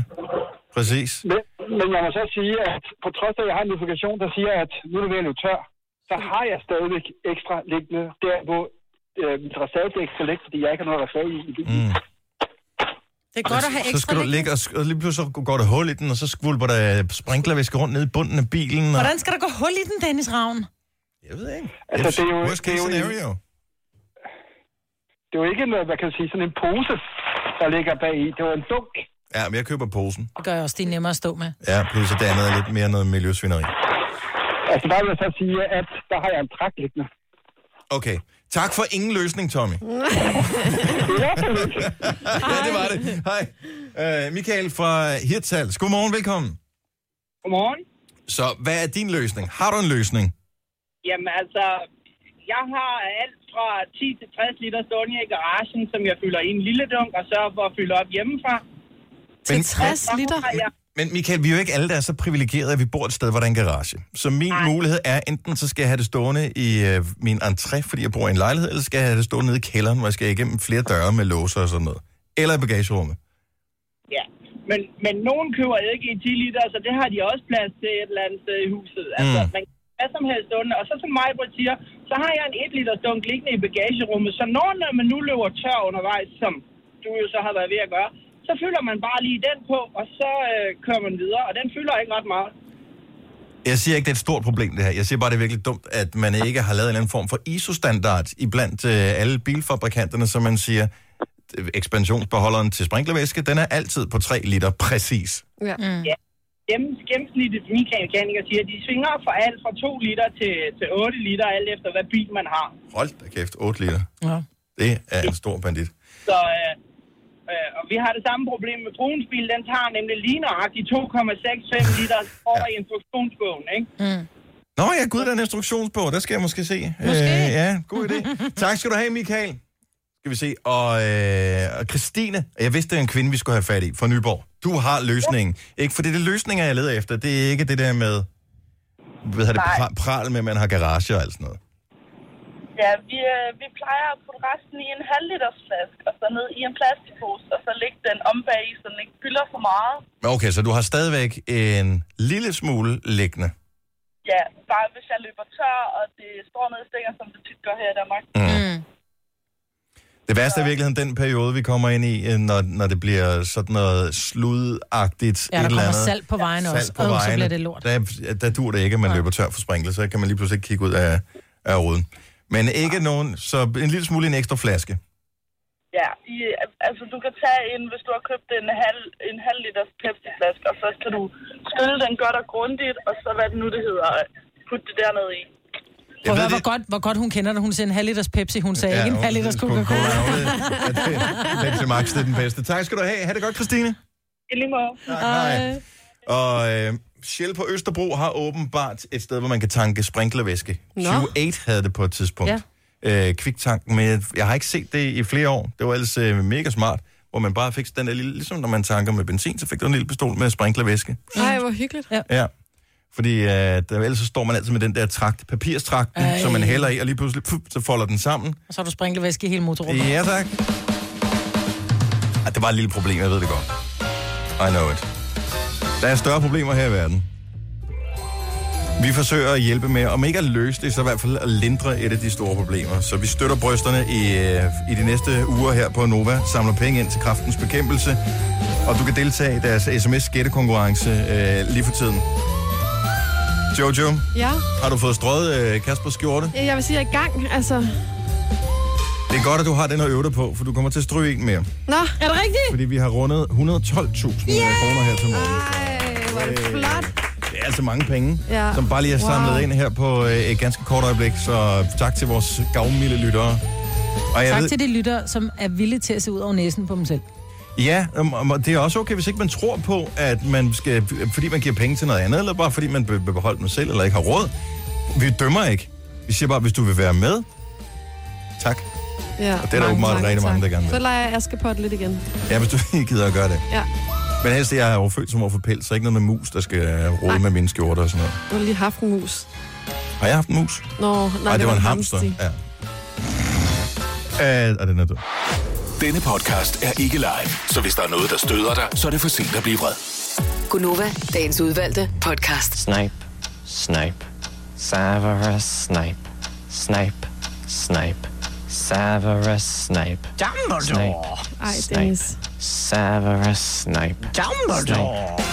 [SPEAKER 1] præcis.
[SPEAKER 9] Men, men jeg må så sige, at på trods af, at jeg har en notifikation, der siger, at nu er det ved at løbe tør, så har jeg stadigvæk ekstra liggende der, hvor øh, mit reservedæk skal ligge, fordi jeg ikke har noget reserve i. i bilen.
[SPEAKER 1] Mm.
[SPEAKER 3] Det er godt at have
[SPEAKER 1] så
[SPEAKER 3] ekstra
[SPEAKER 1] skal du
[SPEAKER 3] liggende.
[SPEAKER 1] ligge, og, sk- og lige pludselig så går der hul i den, og så skvulper der sprinklervæske rundt ned i bunden af bilen. Og...
[SPEAKER 3] Hvordan skal der gå hul i den, Dennis Ravn?
[SPEAKER 1] Jeg ved ikke.
[SPEAKER 9] Altså, det er jo-
[SPEAKER 1] Worst case
[SPEAKER 9] det er jo en-
[SPEAKER 1] scenario.
[SPEAKER 9] Det var ikke noget, hvad kan jeg sige, sådan en pose, der ligger bag i. Det var en dunk.
[SPEAKER 1] Ja, men jeg køber posen.
[SPEAKER 3] Det gør jeg også, det er nemmere at stå med.
[SPEAKER 1] Ja, plus at det andet er lidt mere noget miljøsvineri.
[SPEAKER 9] Altså, der vil jeg så sige, at der har jeg en trakt liggende.
[SPEAKER 1] Okay. Tak for ingen løsning, Tommy. ja, det var det. Hej. Øh, Michael fra Hirtals. Godmorgen, velkommen.
[SPEAKER 9] Godmorgen.
[SPEAKER 1] Så hvad er din løsning? Har du en løsning?
[SPEAKER 9] Jamen altså, jeg har alt fra 10 til 60 liter stående i garagen, som jeg fylder i en lille dunk og sørger for at fylde op hjemmefra.
[SPEAKER 2] Til 60 liter?
[SPEAKER 1] Men Michael, vi er jo ikke alle, der er så privilegerede, at vi bor et sted, hvor der er en garage. Så min Ej. mulighed er, enten så skal jeg have det stående i øh, min entré, fordi jeg bor i en lejlighed, eller skal jeg have det stående nede i kælderen, hvor jeg skal igennem flere døre med låser og sådan noget. Eller i bagagerummet.
[SPEAKER 9] Ja, men, men nogen køber ikke i 10 liter, så det har de også plads til et eller andet sted i huset. Altså,
[SPEAKER 1] Mm.
[SPEAKER 9] mm. man kan have hvad som helst stående. Og så som mig siger, så har jeg en 1 liter dunk liggende i bagagerummet, så når, når man nu løber tør undervejs, som du jo så har været ved at gøre, så fylder man bare lige den på, og så øh, kører man videre, og den fylder ikke ret meget.
[SPEAKER 1] Jeg siger ikke, det er et stort problem, det her. Jeg siger bare, det er virkelig dumt, at man ikke har lavet en eller anden form for ISO-standard iblandt øh, alle bilfabrikanterne, så man siger, øh, ekspansionsbeholderen til sprinklervæske, den er altid på 3 liter præcis.
[SPEAKER 2] Ja. Mm.
[SPEAKER 9] Gennem- Gennemsnittet mekaniker siger, at de svinger fra alt fra 2 liter til, til 8 liter, alt efter hvad bil man har.
[SPEAKER 1] Hold da kæft, 8 liter.
[SPEAKER 3] Ja.
[SPEAKER 1] Det er en stor bandit.
[SPEAKER 9] Så, øh, Øh, og vi har det samme problem med Bruns bil. Den tager nemlig lige nøjagtigt 2,65 liter over i instruktionsbogen, ikke?
[SPEAKER 1] Nå ja, gud, der er en instruktionsbog. Der skal jeg måske se. Måske. ja, god idé. tak skal du have, Michael. Skal vi se. Og, øh, og Christine, jeg vidste, det er en kvinde, vi skulle have fat i fra Nyborg. Du har løsningen. Ikke, for det er det løsninger, jeg leder efter. Det er ikke det der med, hvad hedder det,
[SPEAKER 9] Nej.
[SPEAKER 1] pra- pral med, at man har garage og alt sådan noget.
[SPEAKER 9] Ja, vi, øh, vi plejer at putte resten i en halv liters flaske, og så ned i en plastikpose, og så lægge den om bag i, så den ikke fylder for meget.
[SPEAKER 1] Men Okay, så du har stadigvæk en lille smule liggende.
[SPEAKER 9] Ja, bare hvis jeg løber tør, og det står ned i stinger, som det tit gør her i Danmark.
[SPEAKER 1] Det værste er i virkeligheden den periode, vi kommer ind i, øh, når, når det bliver sådan noget sludagtigt.
[SPEAKER 3] Ja, der
[SPEAKER 1] et eller
[SPEAKER 3] kommer
[SPEAKER 1] andet.
[SPEAKER 3] salt på vejen også.
[SPEAKER 1] Salt på
[SPEAKER 3] Åh, så
[SPEAKER 1] vejene.
[SPEAKER 3] bliver det lort.
[SPEAKER 1] Der, der dur det ikke, at man løber tør for sprinkler, så kan man lige pludselig ikke kigge ud af, af ruden. Men ikke nogen, så en lille smule i en ekstra flaske.
[SPEAKER 9] Ja, i, altså du kan tage en, hvis du har købt en halv, en halv liters Pepsi-flaske, og så kan du skylle den godt og grundigt, og så hvad det nu det hedder, putte det dernede i.
[SPEAKER 1] Jeg
[SPEAKER 3] Prøv at
[SPEAKER 1] ved
[SPEAKER 3] høre, hvor
[SPEAKER 1] det-
[SPEAKER 3] godt, hvor godt hun kender det. Hun siger en halv liters Pepsi. Hun sagde ja, ikke en halv liters Coca-Cola.
[SPEAKER 1] Ja, det- Pepsi Max, det er den bedste. Tak skal du have. Ha' det godt, Christine.
[SPEAKER 9] I lige måde.
[SPEAKER 1] Tak, Ah, hej. Og øh, Shell på Østerbro har åbenbart et sted, hvor man kan tanke sprinklervæske.
[SPEAKER 2] Nå.
[SPEAKER 1] Q8 havde det på et tidspunkt. Ja. Øh, kviktanken, men jeg, jeg har ikke set det i flere år. Det var ellers øh, mega smart, hvor man bare fik den der lille, ligesom når man tanker med benzin, så fik du en lille pistol med sprinklervæske.
[SPEAKER 2] Nej, hvor hyggeligt.
[SPEAKER 1] Ja. Fordi øh, der, ellers så står man altid med den der trakt, papirstrakten,
[SPEAKER 3] Ej.
[SPEAKER 1] som man hælder i, og lige pludselig puff, så folder den sammen.
[SPEAKER 3] Og så har du sprinklervæske i hele motorrummet.
[SPEAKER 1] Ja, tak. Ej, det var et lille problem, jeg ved det godt. I know it. Der er større problemer her i verden. Vi forsøger at hjælpe med, om ikke at løse det, så i hvert fald at lindre et af de store problemer. Så vi støtter brysterne i, øh, i de næste uger her på Nova, samler penge ind til kraftens bekæmpelse, og du kan deltage i deres sms-gættekonkurrence øh, lige for tiden. Jojo,
[SPEAKER 2] Ja.
[SPEAKER 1] har du fået strøget øh, Kaspers skjorte?
[SPEAKER 2] Ja, Jeg vil sige, jeg er i gang, altså.
[SPEAKER 1] Det er godt, at du har den at øve dig på, for du kommer til at stryge en mere.
[SPEAKER 2] Nå. Er det rigtigt?
[SPEAKER 1] fordi vi har rundet 112.000 øh, kroner her til morgen.
[SPEAKER 2] Ej, hvor er det flot.
[SPEAKER 1] Det er altså mange penge,
[SPEAKER 2] Ja.
[SPEAKER 1] som bare lige er samlet
[SPEAKER 2] Wow.
[SPEAKER 1] ind her på øh, et ganske kort øjeblik. Så tak til vores gavmilde lyttere. Og jeg
[SPEAKER 3] Tak til de lytter, som er villige til at se ud over næsen på dem selv.
[SPEAKER 1] Ja, um, um, og det er også okay, hvis ikke man tror på, at man skal, fordi man giver penge til noget andet, eller bare fordi man be- beholder dem selv, eller ikke har råd. Vi dømmer ikke. Vi siger bare, hvis du vil være med, tak.
[SPEAKER 2] Ja,
[SPEAKER 1] det er der åbenbart rigtig mange, der
[SPEAKER 2] tak.
[SPEAKER 1] gerne vil.
[SPEAKER 2] Så leger jeg Askepot lidt igen.
[SPEAKER 1] Ja, hvis du ikke gider at gøre det.
[SPEAKER 2] Ja,
[SPEAKER 1] Men helst, jeg er jo født som over for pels, så ikke noget med mus, der skal øh, rode
[SPEAKER 2] Nej.
[SPEAKER 1] med mine skjorter og sådan noget.
[SPEAKER 2] jeg har lige haft en mus.
[SPEAKER 1] Har jeg haft en mus?
[SPEAKER 2] Nå, nej,
[SPEAKER 1] Nej,
[SPEAKER 2] det,
[SPEAKER 1] det var en hamster.
[SPEAKER 2] hamsti.
[SPEAKER 1] Ja. Øh, og den er død.
[SPEAKER 5] Denne podcast er ikke live, så hvis der er noget, der støder dig, så er det for sent at blive vred.
[SPEAKER 4] Gunova, dagens udvalgte podcast.
[SPEAKER 10] Snipe, snipe, Severus Snipe, snipe, snipe, Severus Snipe. Dumbledore!
[SPEAKER 2] Ej, Dennis.
[SPEAKER 10] Severus Snipe. Dumbledore!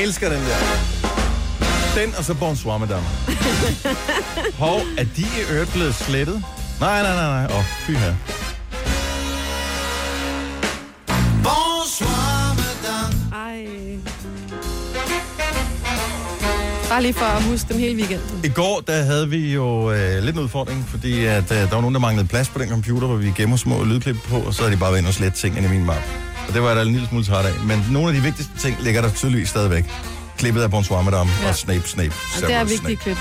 [SPEAKER 1] elsker den der. Den og så bonsoir, madame. Hov, er de i øvrigt blevet slettet? Nej, nej, nej, nej. Åh, oh, fy her.
[SPEAKER 2] Ej. Bare lige for at huske dem hele weekenden.
[SPEAKER 1] I går, der havde vi jo øh, lidt en udfordring, fordi at, øh, der var nogen, der manglede plads på den computer, hvor vi gemmer små lydklip på, og så havde de bare været inde og slet tingene i min map. Og det var jeg da en lille smule træt af. Men nogle af de vigtigste ting ligger der tydeligvis stadigvæk. Klippet af Bonsoir Madame ja.
[SPEAKER 2] Ja.
[SPEAKER 1] og Snape, Snape.
[SPEAKER 2] Og det er
[SPEAKER 1] Severus
[SPEAKER 2] vigtigt klip.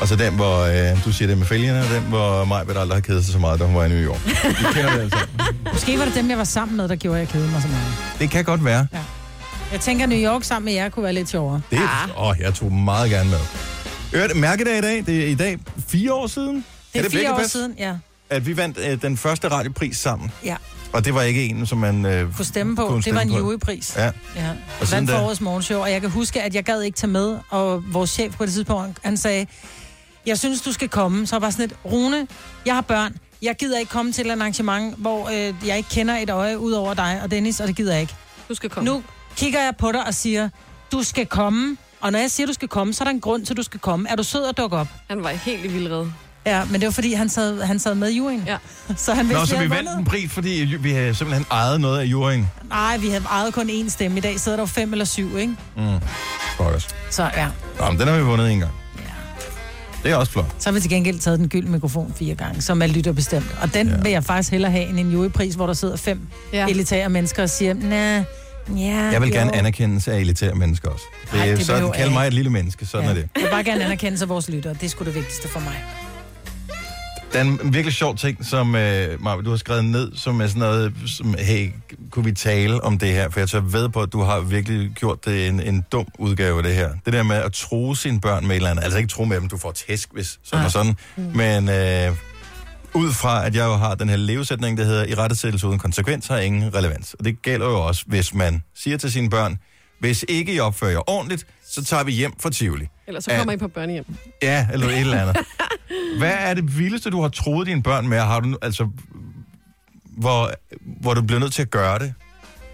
[SPEAKER 1] Og så den, hvor øh, du siger det med fælgerne, og den, hvor Maj vil aldrig har kedet sig så meget, da hun var i New York. Vi kender det altså.
[SPEAKER 3] Måske var det dem, jeg var sammen med, der gjorde, at jeg kedede mig så meget.
[SPEAKER 1] Det kan godt være.
[SPEAKER 3] Jeg tænker, New York sammen med jer kunne være lidt sjovere.
[SPEAKER 1] Det er, ah. åh, jeg tog meget gerne med. Øvrigt, mærkedag i dag, det er i dag fire år siden.
[SPEAKER 3] Det er,
[SPEAKER 1] det
[SPEAKER 3] fire år
[SPEAKER 1] Blækkepas?
[SPEAKER 3] siden, ja.
[SPEAKER 1] At vi vandt øh, den første radiopris sammen.
[SPEAKER 3] ja.
[SPEAKER 1] Og det var ikke en, som man... Øh,
[SPEAKER 3] Kunne stemme på.
[SPEAKER 1] Kunne
[SPEAKER 3] Kunne det
[SPEAKER 1] stemme
[SPEAKER 3] var en
[SPEAKER 1] på.
[SPEAKER 3] jurypris.
[SPEAKER 1] ja.
[SPEAKER 3] Ja,
[SPEAKER 1] Og siden
[SPEAKER 3] vandt for
[SPEAKER 1] da-
[SPEAKER 3] årets morgenshow, og jeg kan huske, at jeg gad ikke tage med, og vores chef på det tidspunkt, han sagde, jeg synes, du skal komme. Så var jeg bare sådan lidt, Rune, jeg har børn, jeg gider ikke komme til et arrangement, hvor øh, jeg ikke kender et øje ud over dig og Dennis, og det gider jeg ikke.
[SPEAKER 2] Du skal komme.
[SPEAKER 3] Nu kigger jeg på dig og siger, du skal komme, og når jeg siger, du skal komme, så er der en grund til, at du skal komme. Er du sød at dukke op?
[SPEAKER 2] Han var helt i vildrede.
[SPEAKER 3] Ja, men det var fordi, han sad, han sad med i juryen.
[SPEAKER 2] Ja.
[SPEAKER 3] Så han vidste,
[SPEAKER 1] Nå, så
[SPEAKER 3] jeg
[SPEAKER 1] vi
[SPEAKER 3] havde
[SPEAKER 1] vandt
[SPEAKER 3] vundet.
[SPEAKER 1] en pris, fordi ju- vi havde simpelthen ejet noget af juryen.
[SPEAKER 3] Nej, vi havde ejet kun én stemme. I dag sidder der jo fem eller syv, ikke?
[SPEAKER 1] Mm. Fuck os.
[SPEAKER 3] Så ja.
[SPEAKER 1] Nå, men den har vi vundet en gang. Det er også flot.
[SPEAKER 3] Så har vi til gengæld taget den gyldne mikrofon fire gange, som er lytterbestemt. Og den ja. vil jeg faktisk hellere have end en jurypris, hvor der sidder fem ja. elitære mennesker og siger, nej, ja,
[SPEAKER 1] Jeg vil
[SPEAKER 3] jo."
[SPEAKER 1] gerne anerkendes af elitære mennesker også. Det,
[SPEAKER 3] Nej,
[SPEAKER 1] Ej,
[SPEAKER 3] det
[SPEAKER 1] det sådan,
[SPEAKER 3] behøver jeg
[SPEAKER 1] kald mig et lille menneske, sådan ja. er det.
[SPEAKER 3] Jeg vil bare gerne anerkende sig vores lyttere. Det er sgu det vigtigste for mig.
[SPEAKER 1] Der er en virkelig sjov ting, som øh, Marve, du har skrevet ned, som er sådan noget, som, hey, kunne vi tale om det her? For jeg tør ved på, at du har virkelig gjort det en, en dum udgave af det her. Det der med at tro sine børn med et eller andet. Altså ikke tro med dem, du får tæsk, hvis sådan og sådan. Men øh, ud fra, at jeg jo har den her levesætning, der hedder, i rettesættelse uden konsekvens har ingen relevans. Og det gælder jo også, hvis man siger til sine børn, hvis ikke I opfører jer ordentligt, så tager vi hjem fra Tivoli.
[SPEAKER 2] Ellers så kommer
[SPEAKER 1] Ja.
[SPEAKER 2] I på børnehjem.
[SPEAKER 1] Ja, eller et eller andet. Hvad er det vildeste, du har troet dine børn med? Har du, nu- altså, hvor, hvor du blev nødt til at gøre det?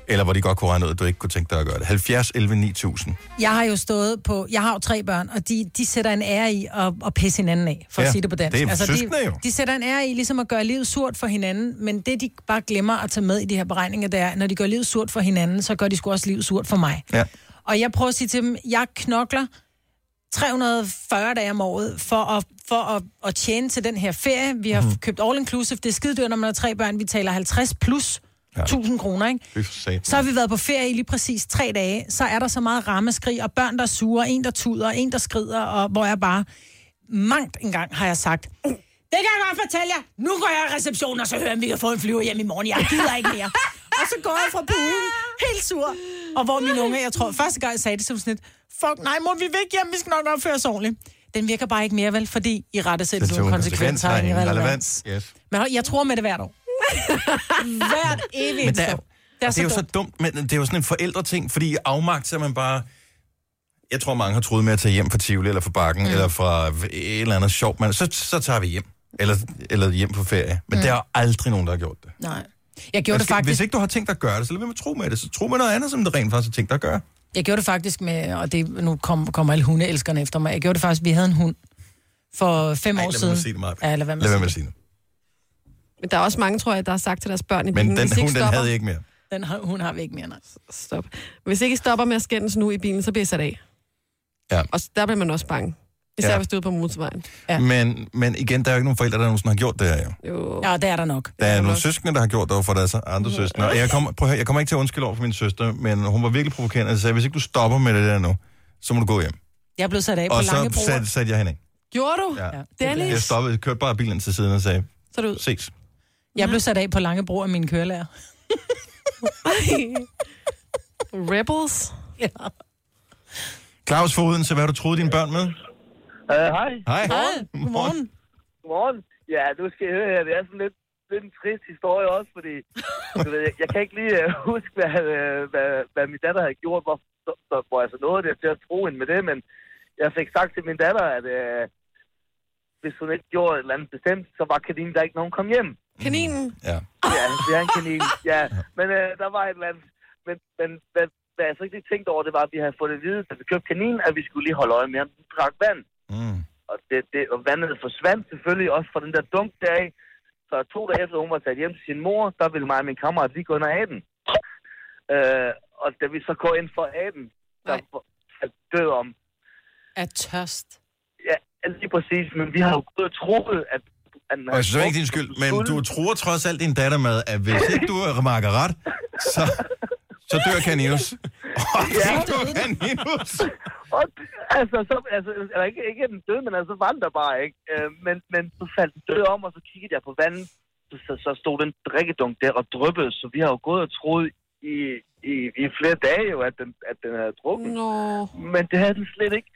[SPEAKER 1] Eller hvor de godt kunne regne ud, at du ikke kunne tænke dig at gøre det? 70, 11, 9000.
[SPEAKER 3] Jeg har jo stået på... Jeg har jo tre børn, og de, de sætter en ære i at, at pisse hinanden af, for ja,
[SPEAKER 1] Ja,
[SPEAKER 3] at sige det på dansk. Altså,
[SPEAKER 1] det er
[SPEAKER 3] de,
[SPEAKER 1] søskende jo.
[SPEAKER 3] de sætter en ære i ligesom at gøre livet surt for hinanden, men det, de bare glemmer at tage med i de her beregninger, det er, når de gør livet surt for hinanden, så gør de sgu også livet surt for mig.
[SPEAKER 1] Ja.
[SPEAKER 3] Og jeg prøver at sige til dem, jeg knokler 340 dage om året for at, for at, at tjene til den her ferie. Vi har mm. købt all inclusive. Det er skidedyrt, når man har tre børn. Vi taler 50 plus ja. 1000 kroner, ikke?
[SPEAKER 1] Fy for satan.
[SPEAKER 3] Så har vi været på ferie i lige præcis tre dage. Så er der så meget rammeskrig, og børn, der suger, en, der tuder, en, der skrider, og hvor jeg bare... Mangt en gang har jeg sagt, det kan jeg godt fortælle jer. Nu går jeg i receptionen, og så hører jeg, om vi kan få en flyver hjem i morgen. Jeg gider ikke mere. og så går jeg fra poolen, helt sur. Og hvor min unge, jeg tror, første gang jeg sagde det, så var hun sådan lidt, fuck nej, må vi væk hjem, vi skal nok opføre os ordentligt. Den virker bare ikke mere, vel, fordi i rette sætte nogle konsekvenser har ingen relevans.
[SPEAKER 1] Yes.
[SPEAKER 3] Men jeg tror med det hvert år. hvert evigt
[SPEAKER 1] Men der,
[SPEAKER 3] år.
[SPEAKER 1] det
[SPEAKER 3] Det er
[SPEAKER 1] er, det er jo
[SPEAKER 3] så
[SPEAKER 1] så dumt, men det er jo sådan en forældreting, fordi i afmagt så er man bare... Jeg tror, mange har troet med at tage hjem fra Tivoli, eller fra Bakken, mm. eller fra et eller andet sjovt, men så, så tager vi hjem. Eller, eller hjem på ferie. Men mm. der er aldrig nogen, der har gjort det.
[SPEAKER 3] Nej. Jeg gjorde,
[SPEAKER 1] Man
[SPEAKER 3] det
[SPEAKER 1] skal,
[SPEAKER 3] faktisk,
[SPEAKER 1] Hvis ikke du har tænkt dig at gøre det, så lad være med at tro med det. Så tro med noget andet, som det rent faktisk har tænkt dig at gøre.
[SPEAKER 3] jeg gjorde det faktisk med, og det, nu kom, kommer alle hundeelskerne efter mig. Jeg gjorde det faktisk, vi havde en hund for fem
[SPEAKER 1] Ej,
[SPEAKER 3] år
[SPEAKER 1] lad
[SPEAKER 3] siden.
[SPEAKER 1] mig sige det, Maja.
[SPEAKER 3] Ja, lad være med
[SPEAKER 1] Lad
[SPEAKER 3] at
[SPEAKER 1] være
[SPEAKER 3] sige
[SPEAKER 1] med at
[SPEAKER 3] det.
[SPEAKER 1] sige det.
[SPEAKER 2] Men der er også mange, tror jeg, der har sagt til deres børn, i
[SPEAKER 1] Men
[SPEAKER 2] bilen,
[SPEAKER 1] den
[SPEAKER 2] hvis I ikke
[SPEAKER 1] hund, den
[SPEAKER 2] stopper,
[SPEAKER 1] havde jeg ikke mere.
[SPEAKER 3] Den har, hun har vi ikke mere, nej.
[SPEAKER 2] Stop. Hvis ikke I stopper med at skændes nu i bilen, så bliver I sat af.
[SPEAKER 1] Ja.
[SPEAKER 2] Og der bliver man også bange. Især
[SPEAKER 1] Ja.
[SPEAKER 2] ja. hvis du er på motorvejen.
[SPEAKER 3] Ja.
[SPEAKER 1] Men, men igen, der er jo ikke nogen forældre, der nogensinde har gjort det her. Jo.
[SPEAKER 2] Jo.
[SPEAKER 3] Ja, det er der nok.
[SPEAKER 1] Der er nogle søskende, der har gjort det over for deres andre søskende. Og jeg kommer, prøv at høre, jeg kommer ikke til at undskylde over for min søster, men hun var virkelig provokerende. Altså, Jeg sagde, hvis ikke du stopper med det der nu, så må du gå hjem.
[SPEAKER 3] Jeg blev sat af på
[SPEAKER 1] Og
[SPEAKER 3] lange
[SPEAKER 1] så
[SPEAKER 3] broer.
[SPEAKER 1] satte, satte jeg hende af.
[SPEAKER 2] Gjorde du?
[SPEAKER 1] Ja.
[SPEAKER 2] Dennis?
[SPEAKER 1] Jeg stoppede, kørte bare bilen til siden og sagde,
[SPEAKER 2] Så er du ud.
[SPEAKER 1] ses.
[SPEAKER 3] Jeg blev sat af på lange broer af min kørelærer.
[SPEAKER 2] Rebels?
[SPEAKER 3] Ja.
[SPEAKER 1] Claus Foden, så hvad har du troet dine børn med?
[SPEAKER 9] Øh, hej.
[SPEAKER 1] Hej.
[SPEAKER 3] Hej, godmorgen.
[SPEAKER 9] Godmorgen. Ja, du skal jeg høre her. Det er sådan lidt, lidt en trist historie også, fordi du ved, jeg, jeg kan ikke lige øh, huske, hvad, øh, hvad, hvad min datter havde gjort, hvor, så, så, hvor jeg så nåede det til at tro hende med det, men jeg fik sagt til min datter, at øh, hvis hun ikke gjorde et eller andet bestemt, så var kaninen der ikke, når hun kom hjem.
[SPEAKER 2] Kaninen?
[SPEAKER 1] Ja.
[SPEAKER 9] Ja, det er en kanin. Ja, men øh, der var et eller andet. Men, men hvad, hvad jeg så ikke lige tænkte over, det var, at vi havde fået det at vide, da vi købte kaninen, at vi skulle lige holde øje med, om den drak vand.
[SPEAKER 1] Mm.
[SPEAKER 9] Og, det, det, og vandet forsvandt selvfølgelig også fra den der dunk dag. Så to dage efter, hun var taget hjem til sin mor, der ville mig og min kammerat lige gå ind og have den. Øh, og da vi så går ind for at have den, der
[SPEAKER 2] Nej.
[SPEAKER 9] er død om.
[SPEAKER 3] Er tørst.
[SPEAKER 9] Ja, lige præcis, men vi har jo gået og troet, at... at
[SPEAKER 1] Og jeg synes det er ikke din skyld, men du tror trods alt din datter med, at hvis ikke du remarker ret, så, så dør Caninus. Og så dør Caninus.
[SPEAKER 9] Og, altså, så, altså, eller ikke, ikke at den døde, men altså, så var den der bare, ikke? Øh, men, men så faldt den død om, og så kiggede jeg på vandet, så, så, så stod den drikkedunk der og drøbbede, så vi har jo gået og troet i, i, i flere dage jo, at den, at den havde drukket.
[SPEAKER 2] Nå.
[SPEAKER 9] Men det havde den slet ikke.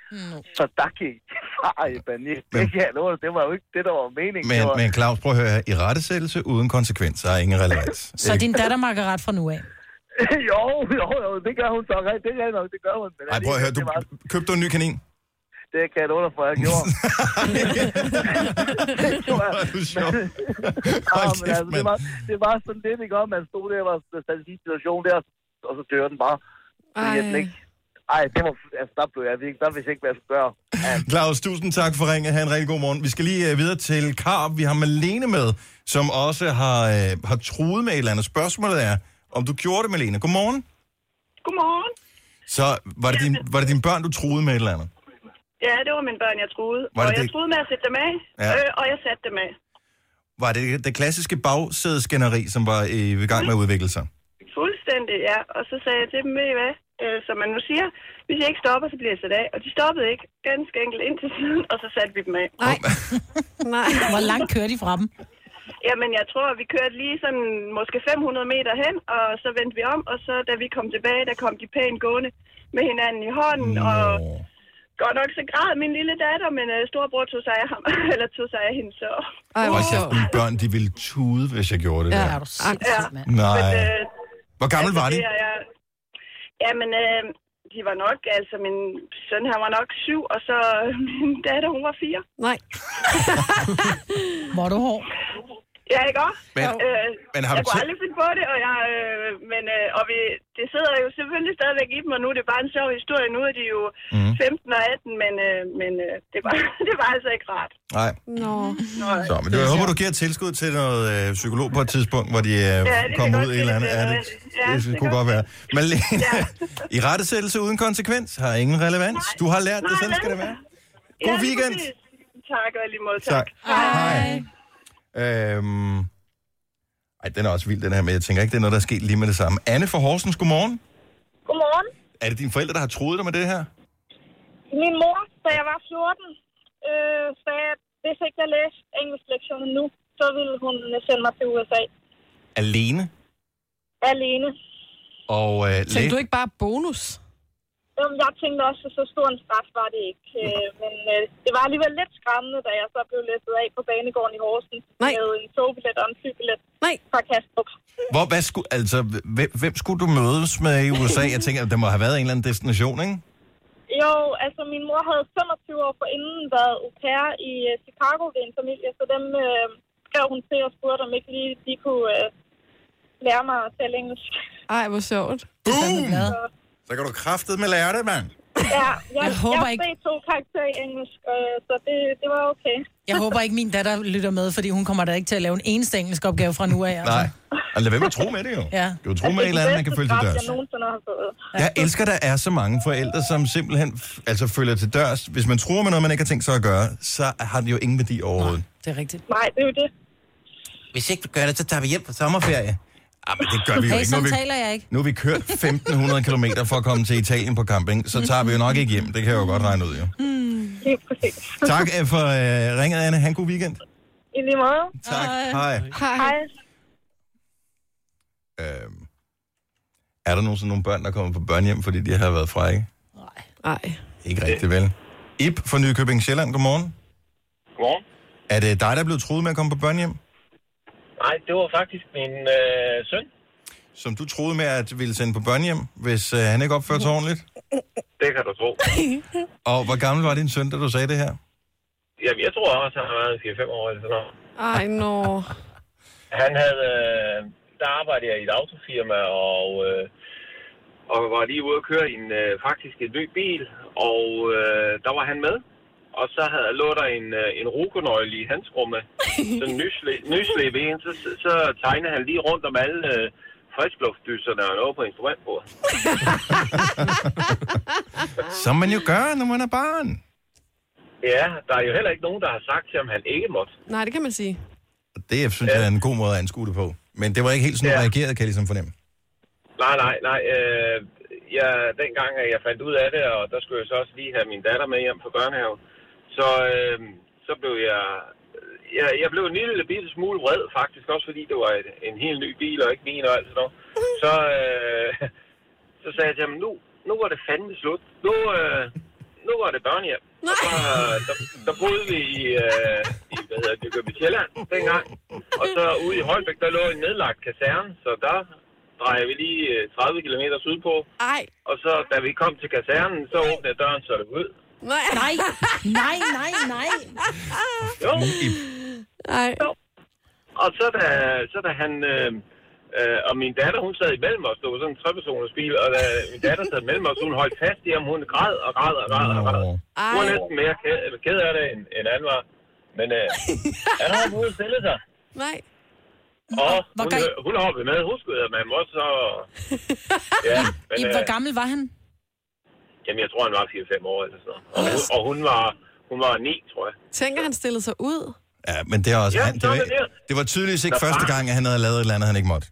[SPEAKER 9] Så der gik far i panik. Det
[SPEAKER 1] Men-
[SPEAKER 9] kan jeg love dig, det var jo ikke det, der var meningen. det
[SPEAKER 1] Men,
[SPEAKER 9] var,
[SPEAKER 1] men Claus, prøv at høre her. I rettesættelse uden konsekvenser er ingen relevans.
[SPEAKER 3] Så din datter makker ret fra nu af.
[SPEAKER 9] jo, jo, jo, det gør hun så rigtigt. Det gør nok, det gør hun. Men
[SPEAKER 1] Ej, prøv at høre. Du,
[SPEAKER 9] Det, var,
[SPEAKER 1] købte du en ny kanin?
[SPEAKER 9] det kan jeg love dig for, jeg gjorde.
[SPEAKER 1] Hvor er du sjov.
[SPEAKER 9] Ja, men
[SPEAKER 1] Hold
[SPEAKER 9] altså,
[SPEAKER 1] kæft,
[SPEAKER 9] det,
[SPEAKER 1] mand.
[SPEAKER 9] var, det var sådan lidt, ikke om, man stod der og var sat i sin situation der, og så dør den bare. Fordi at den
[SPEAKER 2] Ej.
[SPEAKER 9] ikke... Ej, det var, altså, der blev jeg virkelig, der vidste jeg ikke, hvad jeg skulle gøre. Ja,
[SPEAKER 1] Claus, tusind tak for ringet. Ha' en rigtig god morgen. Vi skal lige øh, videre til Karp. Vi har Malene med, som også har, øh, har truet med et eller andet. Spørgsmålet er, om du gjorde det, Malene. Godmorgen.
[SPEAKER 11] Godmorgen.
[SPEAKER 1] Så var det, din, var det dine børn, du truede med et eller andet?
[SPEAKER 11] Ja, det var mine børn, jeg troede.
[SPEAKER 1] Var
[SPEAKER 11] og
[SPEAKER 1] det
[SPEAKER 11] jeg
[SPEAKER 1] det?
[SPEAKER 11] troede med at sætte dem af,
[SPEAKER 1] Ja.
[SPEAKER 11] ja. øh, og jeg satte dem af.
[SPEAKER 1] Var det det klassiske bagsædeskænderi, som var i i gang med at udvikle sig?
[SPEAKER 11] Fuldstændig, ja. Og så sagde jeg til dem, ved I hvad, øh, som man nu siger, hvis jeg ikke stopper, så bliver jeg sat af. Og de stoppede ikke, ganske enkelt ind til siden, og så satte vi dem af.
[SPEAKER 2] Nej. Nej.
[SPEAKER 3] Hvor langt kører de fra dem?
[SPEAKER 11] Jamen, jeg tror, vi kørte lige sådan måske 500 meter hen, og så vendte vi om, og så da vi kom tilbage, der kom de pænt gående med hinanden i hånden, Nå. og godt nok så græd min lille datter, men øh, storbror tog sig af ham, eller tog sig af hende, så...
[SPEAKER 1] Ej, hvor kæft, mine børn, de ville tude, hvis jeg gjorde det der.
[SPEAKER 11] ja.
[SPEAKER 1] Nej.
[SPEAKER 11] Men, øh, altså,
[SPEAKER 1] Hvor gammel var de?
[SPEAKER 11] det er jeg- Jamen, øh, de var nok, altså min søn, han var nok syv, og så øh, min datter, hun var fire.
[SPEAKER 2] Nej.
[SPEAKER 3] Hvor du hård?
[SPEAKER 11] Ja, ikke også?
[SPEAKER 1] Men-
[SPEAKER 11] øh,
[SPEAKER 1] men har
[SPEAKER 11] jeg
[SPEAKER 1] du
[SPEAKER 11] kunne
[SPEAKER 1] tæ-
[SPEAKER 11] aldrig finde på det, og, jeg, øh, men, øh, og vi, det sidder jo selvfølgelig stadigvæk i dem, og nu er det bare en sjov historie. Nu er de jo
[SPEAKER 1] Mhm.
[SPEAKER 11] mm. 15 og 18, men, øh, men øh, det, var, det var altså ikke rart.
[SPEAKER 1] Nej.
[SPEAKER 2] Nå.
[SPEAKER 11] Nej.
[SPEAKER 1] Så, men det, jeg håber, du giver et tilskud til noget øh, psykolog på et tidspunkt, hvor de øh, ja,
[SPEAKER 11] det kan
[SPEAKER 1] kommer
[SPEAKER 11] godt
[SPEAKER 1] ud i et eller
[SPEAKER 11] være,
[SPEAKER 1] andet.
[SPEAKER 11] det
[SPEAKER 1] Ja,
[SPEAKER 11] er-
[SPEAKER 1] det,
[SPEAKER 11] ja,
[SPEAKER 1] det,
[SPEAKER 11] det
[SPEAKER 1] det
[SPEAKER 11] kan
[SPEAKER 1] kunne godt være. Malene, i rettesættelse uden konsekvens har ingen relevans. Du har lært det,
[SPEAKER 11] Nej,
[SPEAKER 1] sådan skal det
[SPEAKER 11] vel?
[SPEAKER 1] være. God
[SPEAKER 11] lige
[SPEAKER 1] weekend.
[SPEAKER 11] præcis. Tak, og i lige måde, tak.
[SPEAKER 1] Tak. Øhm, ej, den er også vild, den her, men jeg tænker ikke, det er noget, der er sket lige med det samme. Anne fra Horsens, godmorgen.
[SPEAKER 12] Godmorgen.
[SPEAKER 1] Er det dine forældre, der har troet dig med det her?
[SPEAKER 12] Min mor, da jeg var 14, øh, sagde, at hvis ikke jeg læste engelsk lektionen nu, så ville hun sende mig til USA
[SPEAKER 1] Alene?
[SPEAKER 12] alene.
[SPEAKER 1] Og øh, læ-
[SPEAKER 2] ikke bare bonus?
[SPEAKER 12] Jamen, jeg tænkte også, at så stor en straf var det ikke. Øh, men øh, det var alligevel lidt skræmmende, da jeg så blev læsset af på banegården i Horsens Nej. med en togbillet og en flybillet
[SPEAKER 2] Nej.
[SPEAKER 12] fra Kastrup.
[SPEAKER 1] hvor, hvad skulle, altså, hvem, hvem skulle du mødes med i USA? Jeg tænker, at der må have været en eller anden destination, ikke?
[SPEAKER 12] Jo, altså min mor havde 25 år forinden været au pair i øh, Chicago ved en familie, så dem øh, skrev hun til og spurgte, om ikke lige de kunne øh, lære mig at tale engelsk.
[SPEAKER 2] Ej, hvor sjovt.
[SPEAKER 1] Boom! Så kan du kraftet med lære det, mand.
[SPEAKER 12] Ja, jeg,
[SPEAKER 3] Jeg håber
[SPEAKER 12] jeg
[SPEAKER 3] ikke-
[SPEAKER 12] Jeg to karakterer i engelsk, øh, så det, det var okay.
[SPEAKER 3] Jeg håber ikke, min datter lytter med, fordi hun kommer da ikke til at lave en eneste engelsk opgave fra nu af. Altså.
[SPEAKER 1] Nej. Og lad være med at tro med det, jo.
[SPEAKER 3] Ja.
[SPEAKER 1] Du tror med et eller andet, man kan følge til
[SPEAKER 12] Det er den bedste straf,
[SPEAKER 1] dørs.
[SPEAKER 12] jeg nogensinde har fået.
[SPEAKER 1] Jeg elsker, der er så mange forældre, som simpelthen f- altså, følger til dørs. Hvis man tror med noget, man ikke har tænkt sig at gøre, så har det jo ingen værdi overhovedet.
[SPEAKER 3] Det er rigtigt.
[SPEAKER 12] Nej, det er jo det.
[SPEAKER 1] Hvis ikke du gør det, så tager vi hjem på sommerferie. Ah, men det gør vi jo
[SPEAKER 3] Hey,
[SPEAKER 1] ikke. Nu
[SPEAKER 3] sådan
[SPEAKER 1] har vi,
[SPEAKER 3] taler jeg ikke.
[SPEAKER 1] nu har vi kørt 1500 km for at komme til Italien på camping, så tager vi jo nok ikke hjem. Det kan jeg jo godt regne ud, jo.
[SPEAKER 12] Lige præcis.
[SPEAKER 1] Tak øh, for øh, ringet, Anne. Han god weekend.
[SPEAKER 12] I lige måde.
[SPEAKER 1] Tak. Hej.
[SPEAKER 2] Hej.
[SPEAKER 12] Hej.
[SPEAKER 1] Øh, er der nogensinde nogle børn, der kommer på børnehjem, fordi de har været frække?
[SPEAKER 2] Nej.
[SPEAKER 1] Ikke rigtig vel. Ip fra Nykøbing Sjælland, godmorgen.
[SPEAKER 13] Godmorgen.
[SPEAKER 1] Er det dig, der er blevet truet med at komme på børnehjem?
[SPEAKER 13] Nej, det var faktisk min øh, søn.
[SPEAKER 1] Som du troede med at ville sende på børnehjem, hvis øh, han ikke opførte sig ordentligt?
[SPEAKER 13] Det kan du tro.
[SPEAKER 1] Og hvor gammel var din søn, da du sagde det her?
[SPEAKER 13] Jamen, jeg tror også, han har været 4-5 år eller sådan noget.
[SPEAKER 2] Ej, nå.
[SPEAKER 13] Han havde... Øh, der arbejdede jeg i et autofirma, og, øh, og var lige ude at køre i en, øh, faktisk en ny bil, og øh, der var han med. Og så havde, lå der en, øh, en rokonøgle i handsrummet, sådan en nyslæb, nyslæb en, så, så, så tegnede han lige rundt om alle øh, friskluftdyserne og noget på instrumentbordet.
[SPEAKER 1] Som man jo gør, når man er barn.
[SPEAKER 13] Ja, der er jo heller ikke nogen, der har sagt til ham, han ikke måtte.
[SPEAKER 2] Nej, det kan man sige.
[SPEAKER 1] Det synes jeg er en god måde at anskue det på. Men det var ikke helt sådan, du reagerede, kan jeg ligesom fornemme.
[SPEAKER 13] Nej, nej, nej. Øh, jeg, dengang at jeg fandt ud af det, og der skulle jeg så også lige have min datter med hjem fra børnehaven, så, øh, så blev jeg, jeg... Jeg blev en lille bitte smule vred faktisk, også fordi det var et, en helt ny bil og ikke min og alt sådan noget. Så, øh, så sagde jeg til ham, nu, nu var det fandme slut. Nu, øh, nu var det børnehjem. Og så, øh, der, der boede vi i, øh, i hvad hedder det, Nykøbing Sjælland dengang. Og så ude i Holbæk, der lå en nedlagt kaserne, så der drejer vi lige øh, 30 km sydpå.
[SPEAKER 2] Ej.
[SPEAKER 13] Og så, da vi kom til kasernen, så åbnede jeg døren, så er det ud.
[SPEAKER 2] Nej.
[SPEAKER 3] Nej, nej, nej, nej.
[SPEAKER 13] Jo.
[SPEAKER 2] Ej.
[SPEAKER 13] Og så da, så da han... Øh, øh, og min datter, hun sad imellem os. Det var sådan en trepersoners bil, og da min datter sad imellem os, hun holdt fast i ham. Hun græd og græd og græd og græd. Hun var næsten mere ked, eller ked af det, end, end han var. Men øh, han har ude og stille sig.
[SPEAKER 2] Nej.
[SPEAKER 13] Og
[SPEAKER 3] Hvor
[SPEAKER 13] hun,
[SPEAKER 3] gam-
[SPEAKER 13] øh, hun hoppede med, hun skød med ham også. Og, ja, men,
[SPEAKER 3] I,
[SPEAKER 13] øh,
[SPEAKER 3] hvor gammel var han?
[SPEAKER 13] Jamen, jeg tror, han var 4-5 år eller sådan noget. Og, hun, og hun, var, hun var 9, tror jeg.
[SPEAKER 2] Tænker han stillede sig ud?
[SPEAKER 1] Ja, men det, er også,
[SPEAKER 13] Ja,
[SPEAKER 1] ja, han, det,
[SPEAKER 13] så er
[SPEAKER 1] var,
[SPEAKER 13] det det.
[SPEAKER 1] det var tydeligvis ikke
[SPEAKER 13] Der
[SPEAKER 1] første
[SPEAKER 13] var-
[SPEAKER 1] gang, at han havde lavet et eller andet, han ikke måtte.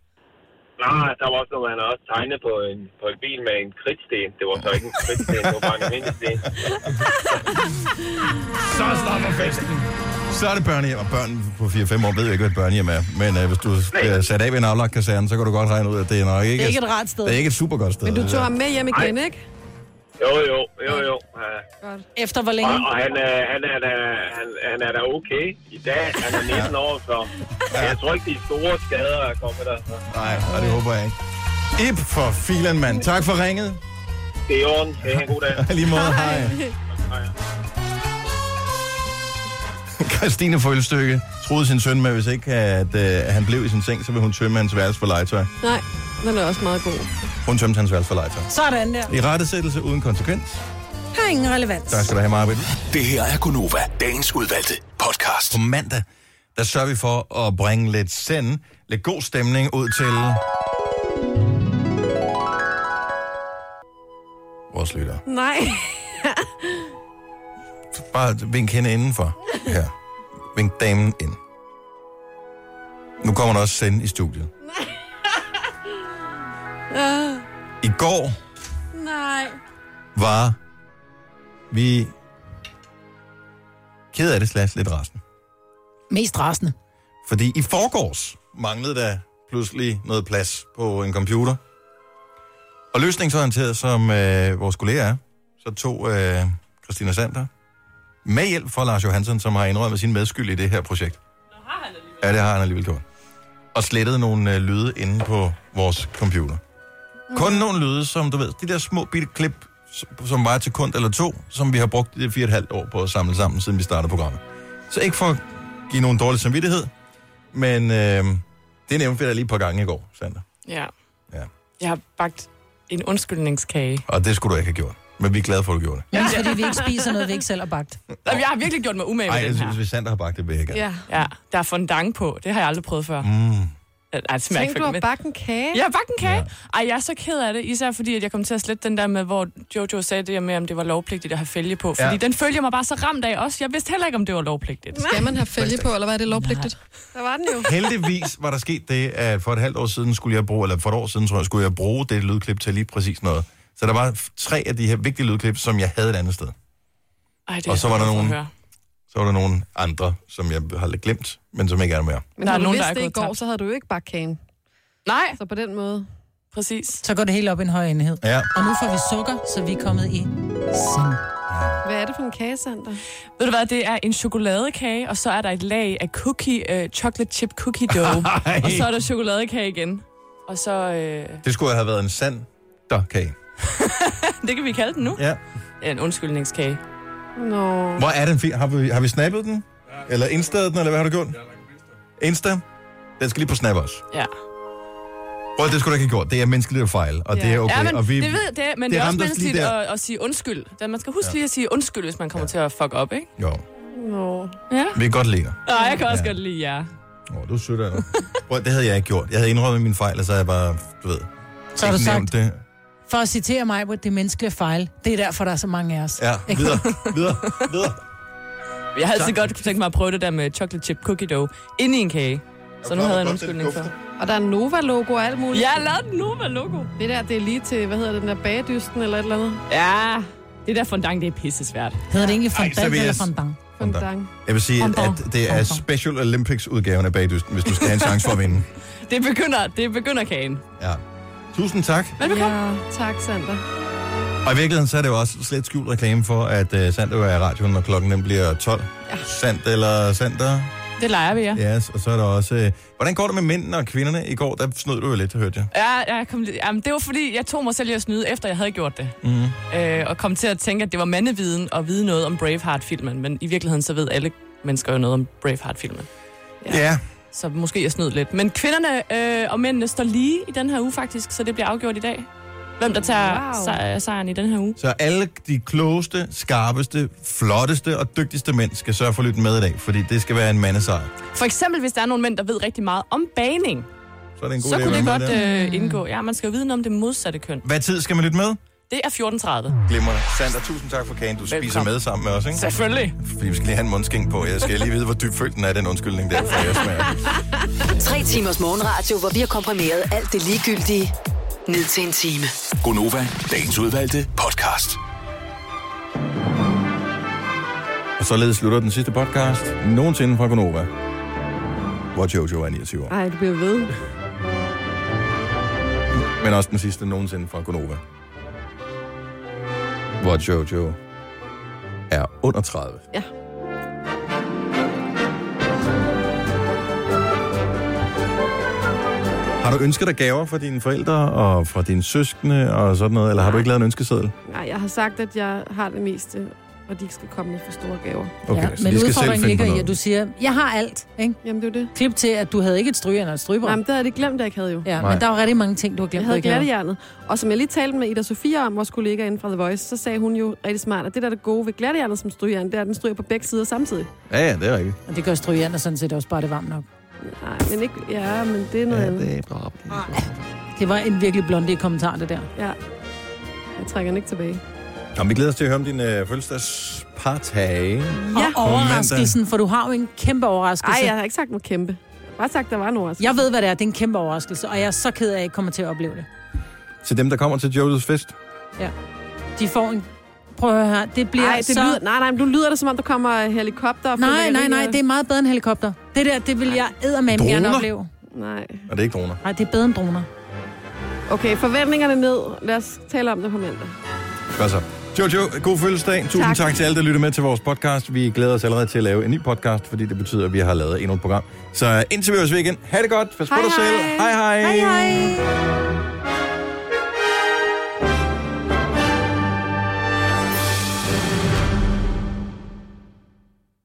[SPEAKER 13] Nej, der var også noget, han havde også tegnet på en, på en bil med en kridtsten. Det var så ikke en kridtsten, det var bare en almindelig sten.
[SPEAKER 1] Så starter festen. Så er det børnehjem, og børn på 4-5 år ved jo ikke, hvad et børnehjem er. Men øh, hvis du bliver sat af ved en aflagt kaserne, så kan du godt regne ud, at det er nok ikke...
[SPEAKER 2] Det er ikke et rart sted.
[SPEAKER 1] Det er ikke et super godt sted.
[SPEAKER 2] Men du
[SPEAKER 1] det
[SPEAKER 2] tog
[SPEAKER 1] der.
[SPEAKER 2] ham med hjem igen,
[SPEAKER 13] Ej.
[SPEAKER 2] ikke?
[SPEAKER 13] Jo, jo, jo, jo. Ja.
[SPEAKER 3] Efter hvor
[SPEAKER 13] Og,
[SPEAKER 3] længe?
[SPEAKER 13] og han, er, han, er da, han, han er da okay i dag. Han er 19 år, så jeg tror ikke, de store skader er kommet der.
[SPEAKER 1] Nej, og det håber jeg ikke. Ip for filen, mand. Tak for ringet.
[SPEAKER 13] Det er i orden. Det er en god dag.
[SPEAKER 1] Lige måde, hej. Christine Følstykke troede sin søn med, at hvis ikke at, øh, han blev i sin seng, så ville hun tømme hans værelse for legetøj.
[SPEAKER 2] Nej, den er også meget god.
[SPEAKER 1] Hun tømte hans værelse for legetøj.
[SPEAKER 3] Sådan der.
[SPEAKER 1] I rettesættelse uden konsekvens.
[SPEAKER 3] Har ingen relevans.
[SPEAKER 1] Tak skal du have, Marvind.
[SPEAKER 5] Det her er Gunova, dagens udvalgte podcast.
[SPEAKER 1] På mandag, der sørger vi for at bringe lidt send, lidt god stemning ud til... Vores lytter.
[SPEAKER 2] Nej.
[SPEAKER 1] Bare vink hende indenfor. Her. Vink damen ind. Nu kommer der også send i studiet.
[SPEAKER 2] Ah,
[SPEAKER 1] I går
[SPEAKER 2] nej.
[SPEAKER 1] var vi ked af det slags lidt rasende.
[SPEAKER 3] Mest rasende.
[SPEAKER 1] Fordi i forgårs manglede der pludselig noget plads på en computer. Og løsningsorienteret, som øh, vores kollega er, så tog øh, Christina Sander med hjælp fra Lars Johansson, som har indrømmet sin medskyld i det her projekt. Nå, har han alligevel. Ja, det har han alligevel gjort. Og slettede nogle øh, lyde inde på vores computer. Mm. Kun nogle lyde, som du ved, de der små bitte klip, s- som var et sekund eller to, som vi har brugt de der fire og et halvt år på at samle sammen, siden vi startede programmet. Så ikke for at give nogen dårlig samvittighed, men øh, det nævnte vi da lige et par gange i går, Sander.
[SPEAKER 14] Ja.
[SPEAKER 1] Ja.
[SPEAKER 14] Jeg har bagt en undskyldningskage.
[SPEAKER 1] Og det skulle du ikke have gjort. Men vi er glade for, at du gjorde det.
[SPEAKER 3] Men fordi vi ikke spiser noget, vi ikke selv har bagt.
[SPEAKER 14] Jamen, jeg har virkelig gjort mig umage
[SPEAKER 1] Nej,
[SPEAKER 14] med
[SPEAKER 1] jeg
[SPEAKER 14] den her.
[SPEAKER 1] synes, hvis Sander har bagt det, vil jeg gerne.
[SPEAKER 14] Ja. ja. Der er fondant på. Det har jeg aldrig prøvet før.
[SPEAKER 1] Mm.
[SPEAKER 14] Ej, det smager
[SPEAKER 2] Tænk,
[SPEAKER 14] ikke
[SPEAKER 2] du har
[SPEAKER 14] men-
[SPEAKER 2] bagt en kage?
[SPEAKER 14] Jeg har bagt en kage. Ja. Ej, jeg er så ked af det, især fordi, at jeg kom til at slette den der med, hvor Jojo sagde det her med, om det var lovpligtigt at have fælge på. Fordi
[SPEAKER 2] Ja.
[SPEAKER 14] ja. den følger mig bare så ramt af også. Jeg vidste heller ikke, om det var lovpligtigt.
[SPEAKER 2] Skal man have
[SPEAKER 1] fælge
[SPEAKER 2] på,
[SPEAKER 14] eller var det lovpligtigt?
[SPEAKER 2] Der var den jo.
[SPEAKER 1] Heldigvis var der sket det, at for et halvt år siden skulle jeg bruge, eller for et år siden, tror jeg, skulle jeg bruge det lydklip til lige præcis noget. Så der var f- tre af de her vigtige lydklip, som jeg havde et andet sted.
[SPEAKER 14] Ej, det
[SPEAKER 1] Og
[SPEAKER 14] er
[SPEAKER 1] så var der
[SPEAKER 14] rart at
[SPEAKER 1] nogen-
[SPEAKER 14] høre.
[SPEAKER 1] Så var der nogle andre, som jeg har lidt glemt, men som ikke er der mere.
[SPEAKER 14] Der
[SPEAKER 2] Men der
[SPEAKER 14] er
[SPEAKER 2] havde du
[SPEAKER 14] nogen,
[SPEAKER 2] vidst
[SPEAKER 14] der er
[SPEAKER 2] det i
[SPEAKER 14] gået
[SPEAKER 2] går,
[SPEAKER 14] tabt.
[SPEAKER 2] så havde du jo ikke bagt kagen.
[SPEAKER 14] Nej.
[SPEAKER 2] Så på den måde.
[SPEAKER 14] Præcis.
[SPEAKER 3] Så går det helt op i en høj enhed.
[SPEAKER 1] Ja.
[SPEAKER 3] Og nu får vi sukker, så vi er kommet i seng.
[SPEAKER 2] Hvad er det for en kage, Sander?
[SPEAKER 14] Ved du hvad, det er en chokoladekage, og så er der et lag af cookie, øh, chocolate chip cookie dough.
[SPEAKER 1] Ej.
[SPEAKER 14] og så er der chokoladekage igen. Og så, øh,
[SPEAKER 1] Det skulle have været en sand kage.
[SPEAKER 14] det kan vi kalde den nu.
[SPEAKER 1] Ja.
[SPEAKER 14] En undskyldningskage.
[SPEAKER 2] Nå.
[SPEAKER 1] Hvor er den fin? Har vi, har vi snappet den? Eller instadet den, eller hvad har du gjort? Insta? Den skal lige på snap også.
[SPEAKER 14] Ja.
[SPEAKER 1] Prøv, at- det skulle du ikke have gjort. Det er menneskeligt at fejle, og det er okay.
[SPEAKER 14] Ja, men,
[SPEAKER 1] og vi,
[SPEAKER 14] det ved, det, er- men det, det er også
[SPEAKER 1] ramte os lige
[SPEAKER 14] menneskeligt
[SPEAKER 1] der.
[SPEAKER 14] at, at, sige undskyld. Da man skal huske ja. lige at sige undskyld, hvis man kommer ja. til at fuck op, ikke?
[SPEAKER 1] Jo,
[SPEAKER 2] Nå.
[SPEAKER 14] Ja.
[SPEAKER 1] vi kan godt lide dig.
[SPEAKER 14] Nå, jeg kan også
[SPEAKER 1] Ja.
[SPEAKER 14] ja. godt lide jer.
[SPEAKER 1] Åh, du er sødt af dig. Prøv, det havde jeg ikke gjort. Jeg havde indrømmet min fejl, og så havde jeg bare, du ved...
[SPEAKER 3] Så har
[SPEAKER 1] ikke
[SPEAKER 3] du
[SPEAKER 1] nævnt Det.
[SPEAKER 3] For at citere mig, hvor det er menneskelige fejl. Det er derfor, der er så mange af os.
[SPEAKER 1] Ja,
[SPEAKER 3] Ikke?
[SPEAKER 1] videre, videre, videre.
[SPEAKER 14] Jeg havde altid
[SPEAKER 1] Tak.
[SPEAKER 14] godt tænkt mig at prøve det der med chocolate chip cookie dough ind i en kage. Så nu havde jeg en undskyldning for.
[SPEAKER 2] Og der er Nova-logo og alt muligt.
[SPEAKER 14] Jeg har lavet et Nova-logo.
[SPEAKER 2] Det der, det er lige til, hvad hedder det, den der bagedysten eller et eller andet?
[SPEAKER 14] Ja, det der fondant, det er pisse svært.
[SPEAKER 3] Hedder det egentlig
[SPEAKER 1] Ej, så
[SPEAKER 3] fondant
[SPEAKER 1] vil jeg
[SPEAKER 3] eller
[SPEAKER 1] s-
[SPEAKER 3] fondant?
[SPEAKER 2] Fondant.
[SPEAKER 1] Jeg vil sige, at,
[SPEAKER 14] Bonbon.
[SPEAKER 1] at det er Special Olympics-udgaven af bagdysten, hvis du skal have en chance for at vinde.
[SPEAKER 14] Det er begynder, det er begynderkagen.
[SPEAKER 1] Ja. Tusind tak.
[SPEAKER 14] Velbekomme.
[SPEAKER 2] Ja, tak, Sander.
[SPEAKER 1] Og i virkeligheden, så er det jo også slet skjult reklame for, at uh, Sander jo er i radioen, når klokken den bliver 12. Ja. Sand eller Sander?
[SPEAKER 14] Det leger vi, ja.
[SPEAKER 1] Ja, yes, og så er der også... Øh, hvordan går det med mændene og kvinderne? I går, der snød du jo lidt, hørte jeg.
[SPEAKER 14] Ja, jeg kom, lidt- jamen, det var fordi, jeg tog mig selv i at snyde, efter jeg havde gjort det.
[SPEAKER 1] Mm.
[SPEAKER 14] Øh, og kom til at tænke, at det var mandeviden at vide noget om Braveheart-filmen. Men i virkeligheden, så ved alle mennesker jo noget om Braveheart-filmen.
[SPEAKER 1] Ja. ja.
[SPEAKER 14] Så måske jeg snød lidt. Men kvinderne øh, og mændene står lige i den her uge faktisk, så det bliver afgjort i dag. Hvem der tager
[SPEAKER 2] Wow.
[SPEAKER 14] wow. sej- sejren i den her uge.
[SPEAKER 1] Så alle de klogeste, skarpeste, flotteste og dygtigste mænd skal sørge for at lytte med i dag, fordi det skal være en mandesejr.
[SPEAKER 14] For eksempel, hvis der er nogle mænd, der ved rigtig meget om baning,
[SPEAKER 1] Så er det en god
[SPEAKER 14] så
[SPEAKER 1] idé at
[SPEAKER 14] kunne det
[SPEAKER 1] være
[SPEAKER 14] godt
[SPEAKER 1] med der.
[SPEAKER 14] øh, indgå. Ja, man skal jo vide noget om det modsatte køn.
[SPEAKER 1] Hvad tid skal man lytte med?
[SPEAKER 14] Det er 14.30.
[SPEAKER 1] Glimrende. Sander, tusind tak for kagen. Du spiser med sammen med os, ikke?
[SPEAKER 14] Selvfølgelig.
[SPEAKER 1] Fordi vi skal lige have en mundskænk på. Jeg skal lige vide, hvor dybt følt den er, den undskyldning der, for jeg smager.
[SPEAKER 4] Tre timers morgenradio, hvor vi har komprimeret alt det ligegyldige ned til en time.
[SPEAKER 5] Gonova, dagens udvalgte podcast.
[SPEAKER 1] Og således slutter den sidste podcast nogensinde fra Gonova, hvor Jojo er 29 år.
[SPEAKER 2] Ej, du bliver ved.
[SPEAKER 1] Men også den sidste nogensinde fra Gonova, hvor Jojo er under 30.
[SPEAKER 2] Ja.
[SPEAKER 1] Har du ønsket dig gaver fra dine forældre og fra dine søskende og sådan noget, eller har du ikke lavet en ønskeseddel?
[SPEAKER 2] Nej, jeg har sagt, at jeg har det meste, og de ikke skal komme med for store gaver.
[SPEAKER 1] Okay,
[SPEAKER 3] Ja, men udfordringen ligger i, at du siger, jeg har alt, ikke?
[SPEAKER 2] Jamen, det er det.
[SPEAKER 3] Klip til, at du havde ikke et stryger eller et stryber.
[SPEAKER 2] Jamen, det havde jeg glemt, at jeg ikke havde jo.
[SPEAKER 3] Ja,
[SPEAKER 2] Nej.
[SPEAKER 3] men der er jo rigtig mange ting, du har
[SPEAKER 2] Jeg
[SPEAKER 3] glemt.
[SPEAKER 2] havde
[SPEAKER 3] du ikke havde.
[SPEAKER 2] glattehjernet. Og som jeg lige talte med Ida Sofia om, vores kollega inden fra The Voice, så sagde hun jo rigtig smart, at det der er det gode ved glattehjernet som stryger, det er, at den stryger på begge sider samtidig.
[SPEAKER 1] Ja, ja, det er rigtigt.
[SPEAKER 3] Og det gør stryger sådan set også bare det varmt nok.
[SPEAKER 2] Nej, men ikke... Ja, men det er noget ja, andet.
[SPEAKER 1] Det, er
[SPEAKER 3] det var en virkelig blondig kommentar, det der.
[SPEAKER 2] Ja. Jeg trækker den ikke tilbage.
[SPEAKER 1] Jamen, vi glæder os til at høre om din øh, fødselsdagspartage.
[SPEAKER 3] Ja.
[SPEAKER 1] På
[SPEAKER 3] Og overraskelsen,
[SPEAKER 1] mandag.
[SPEAKER 3] for du har jo en kæmpe overraskelse.
[SPEAKER 2] Ej, jeg har ikke sagt noget kæmpe. Jeg har bare sagt, der var en overraskelse.
[SPEAKER 3] Jeg ved, hvad det er. Det er en kæmpe overraskelse, og jeg er så ked af, at I ikke kommer til at opleve det.
[SPEAKER 1] Til dem, der kommer til Jojos fest.
[SPEAKER 3] Ja. De får en... Prøv at høre her. Det bliver
[SPEAKER 2] Ej, det
[SPEAKER 3] så...
[SPEAKER 2] lyder, nej, nej, men du lyder det, som om der kommer helikopter. og
[SPEAKER 3] Nej,
[SPEAKER 2] fyrværkeri
[SPEAKER 3] nej, nej,
[SPEAKER 2] og-
[SPEAKER 3] det er meget bedre end helikopter. Det der, det vil jeg eddermame gerne
[SPEAKER 1] Droner?
[SPEAKER 3] opleve.
[SPEAKER 2] Nej.
[SPEAKER 1] Og det er ikke droner.
[SPEAKER 3] Nej, det er bedre end droner.
[SPEAKER 2] Okay, forventningerne ned. Lad os tale om det på mandag.
[SPEAKER 1] Hvad så? Jojo, god fødselsdag. Tusind tak. tak til alle, der lytter med til vores podcast. Vi glæder os allerede til at lave en ny podcast, fordi det betyder, at vi har lavet endnu et program. Så indtil vi høres ved igen. Ha' det godt. Pas på dig selv. Hej hej. hej, hej.
[SPEAKER 2] Hej, hej.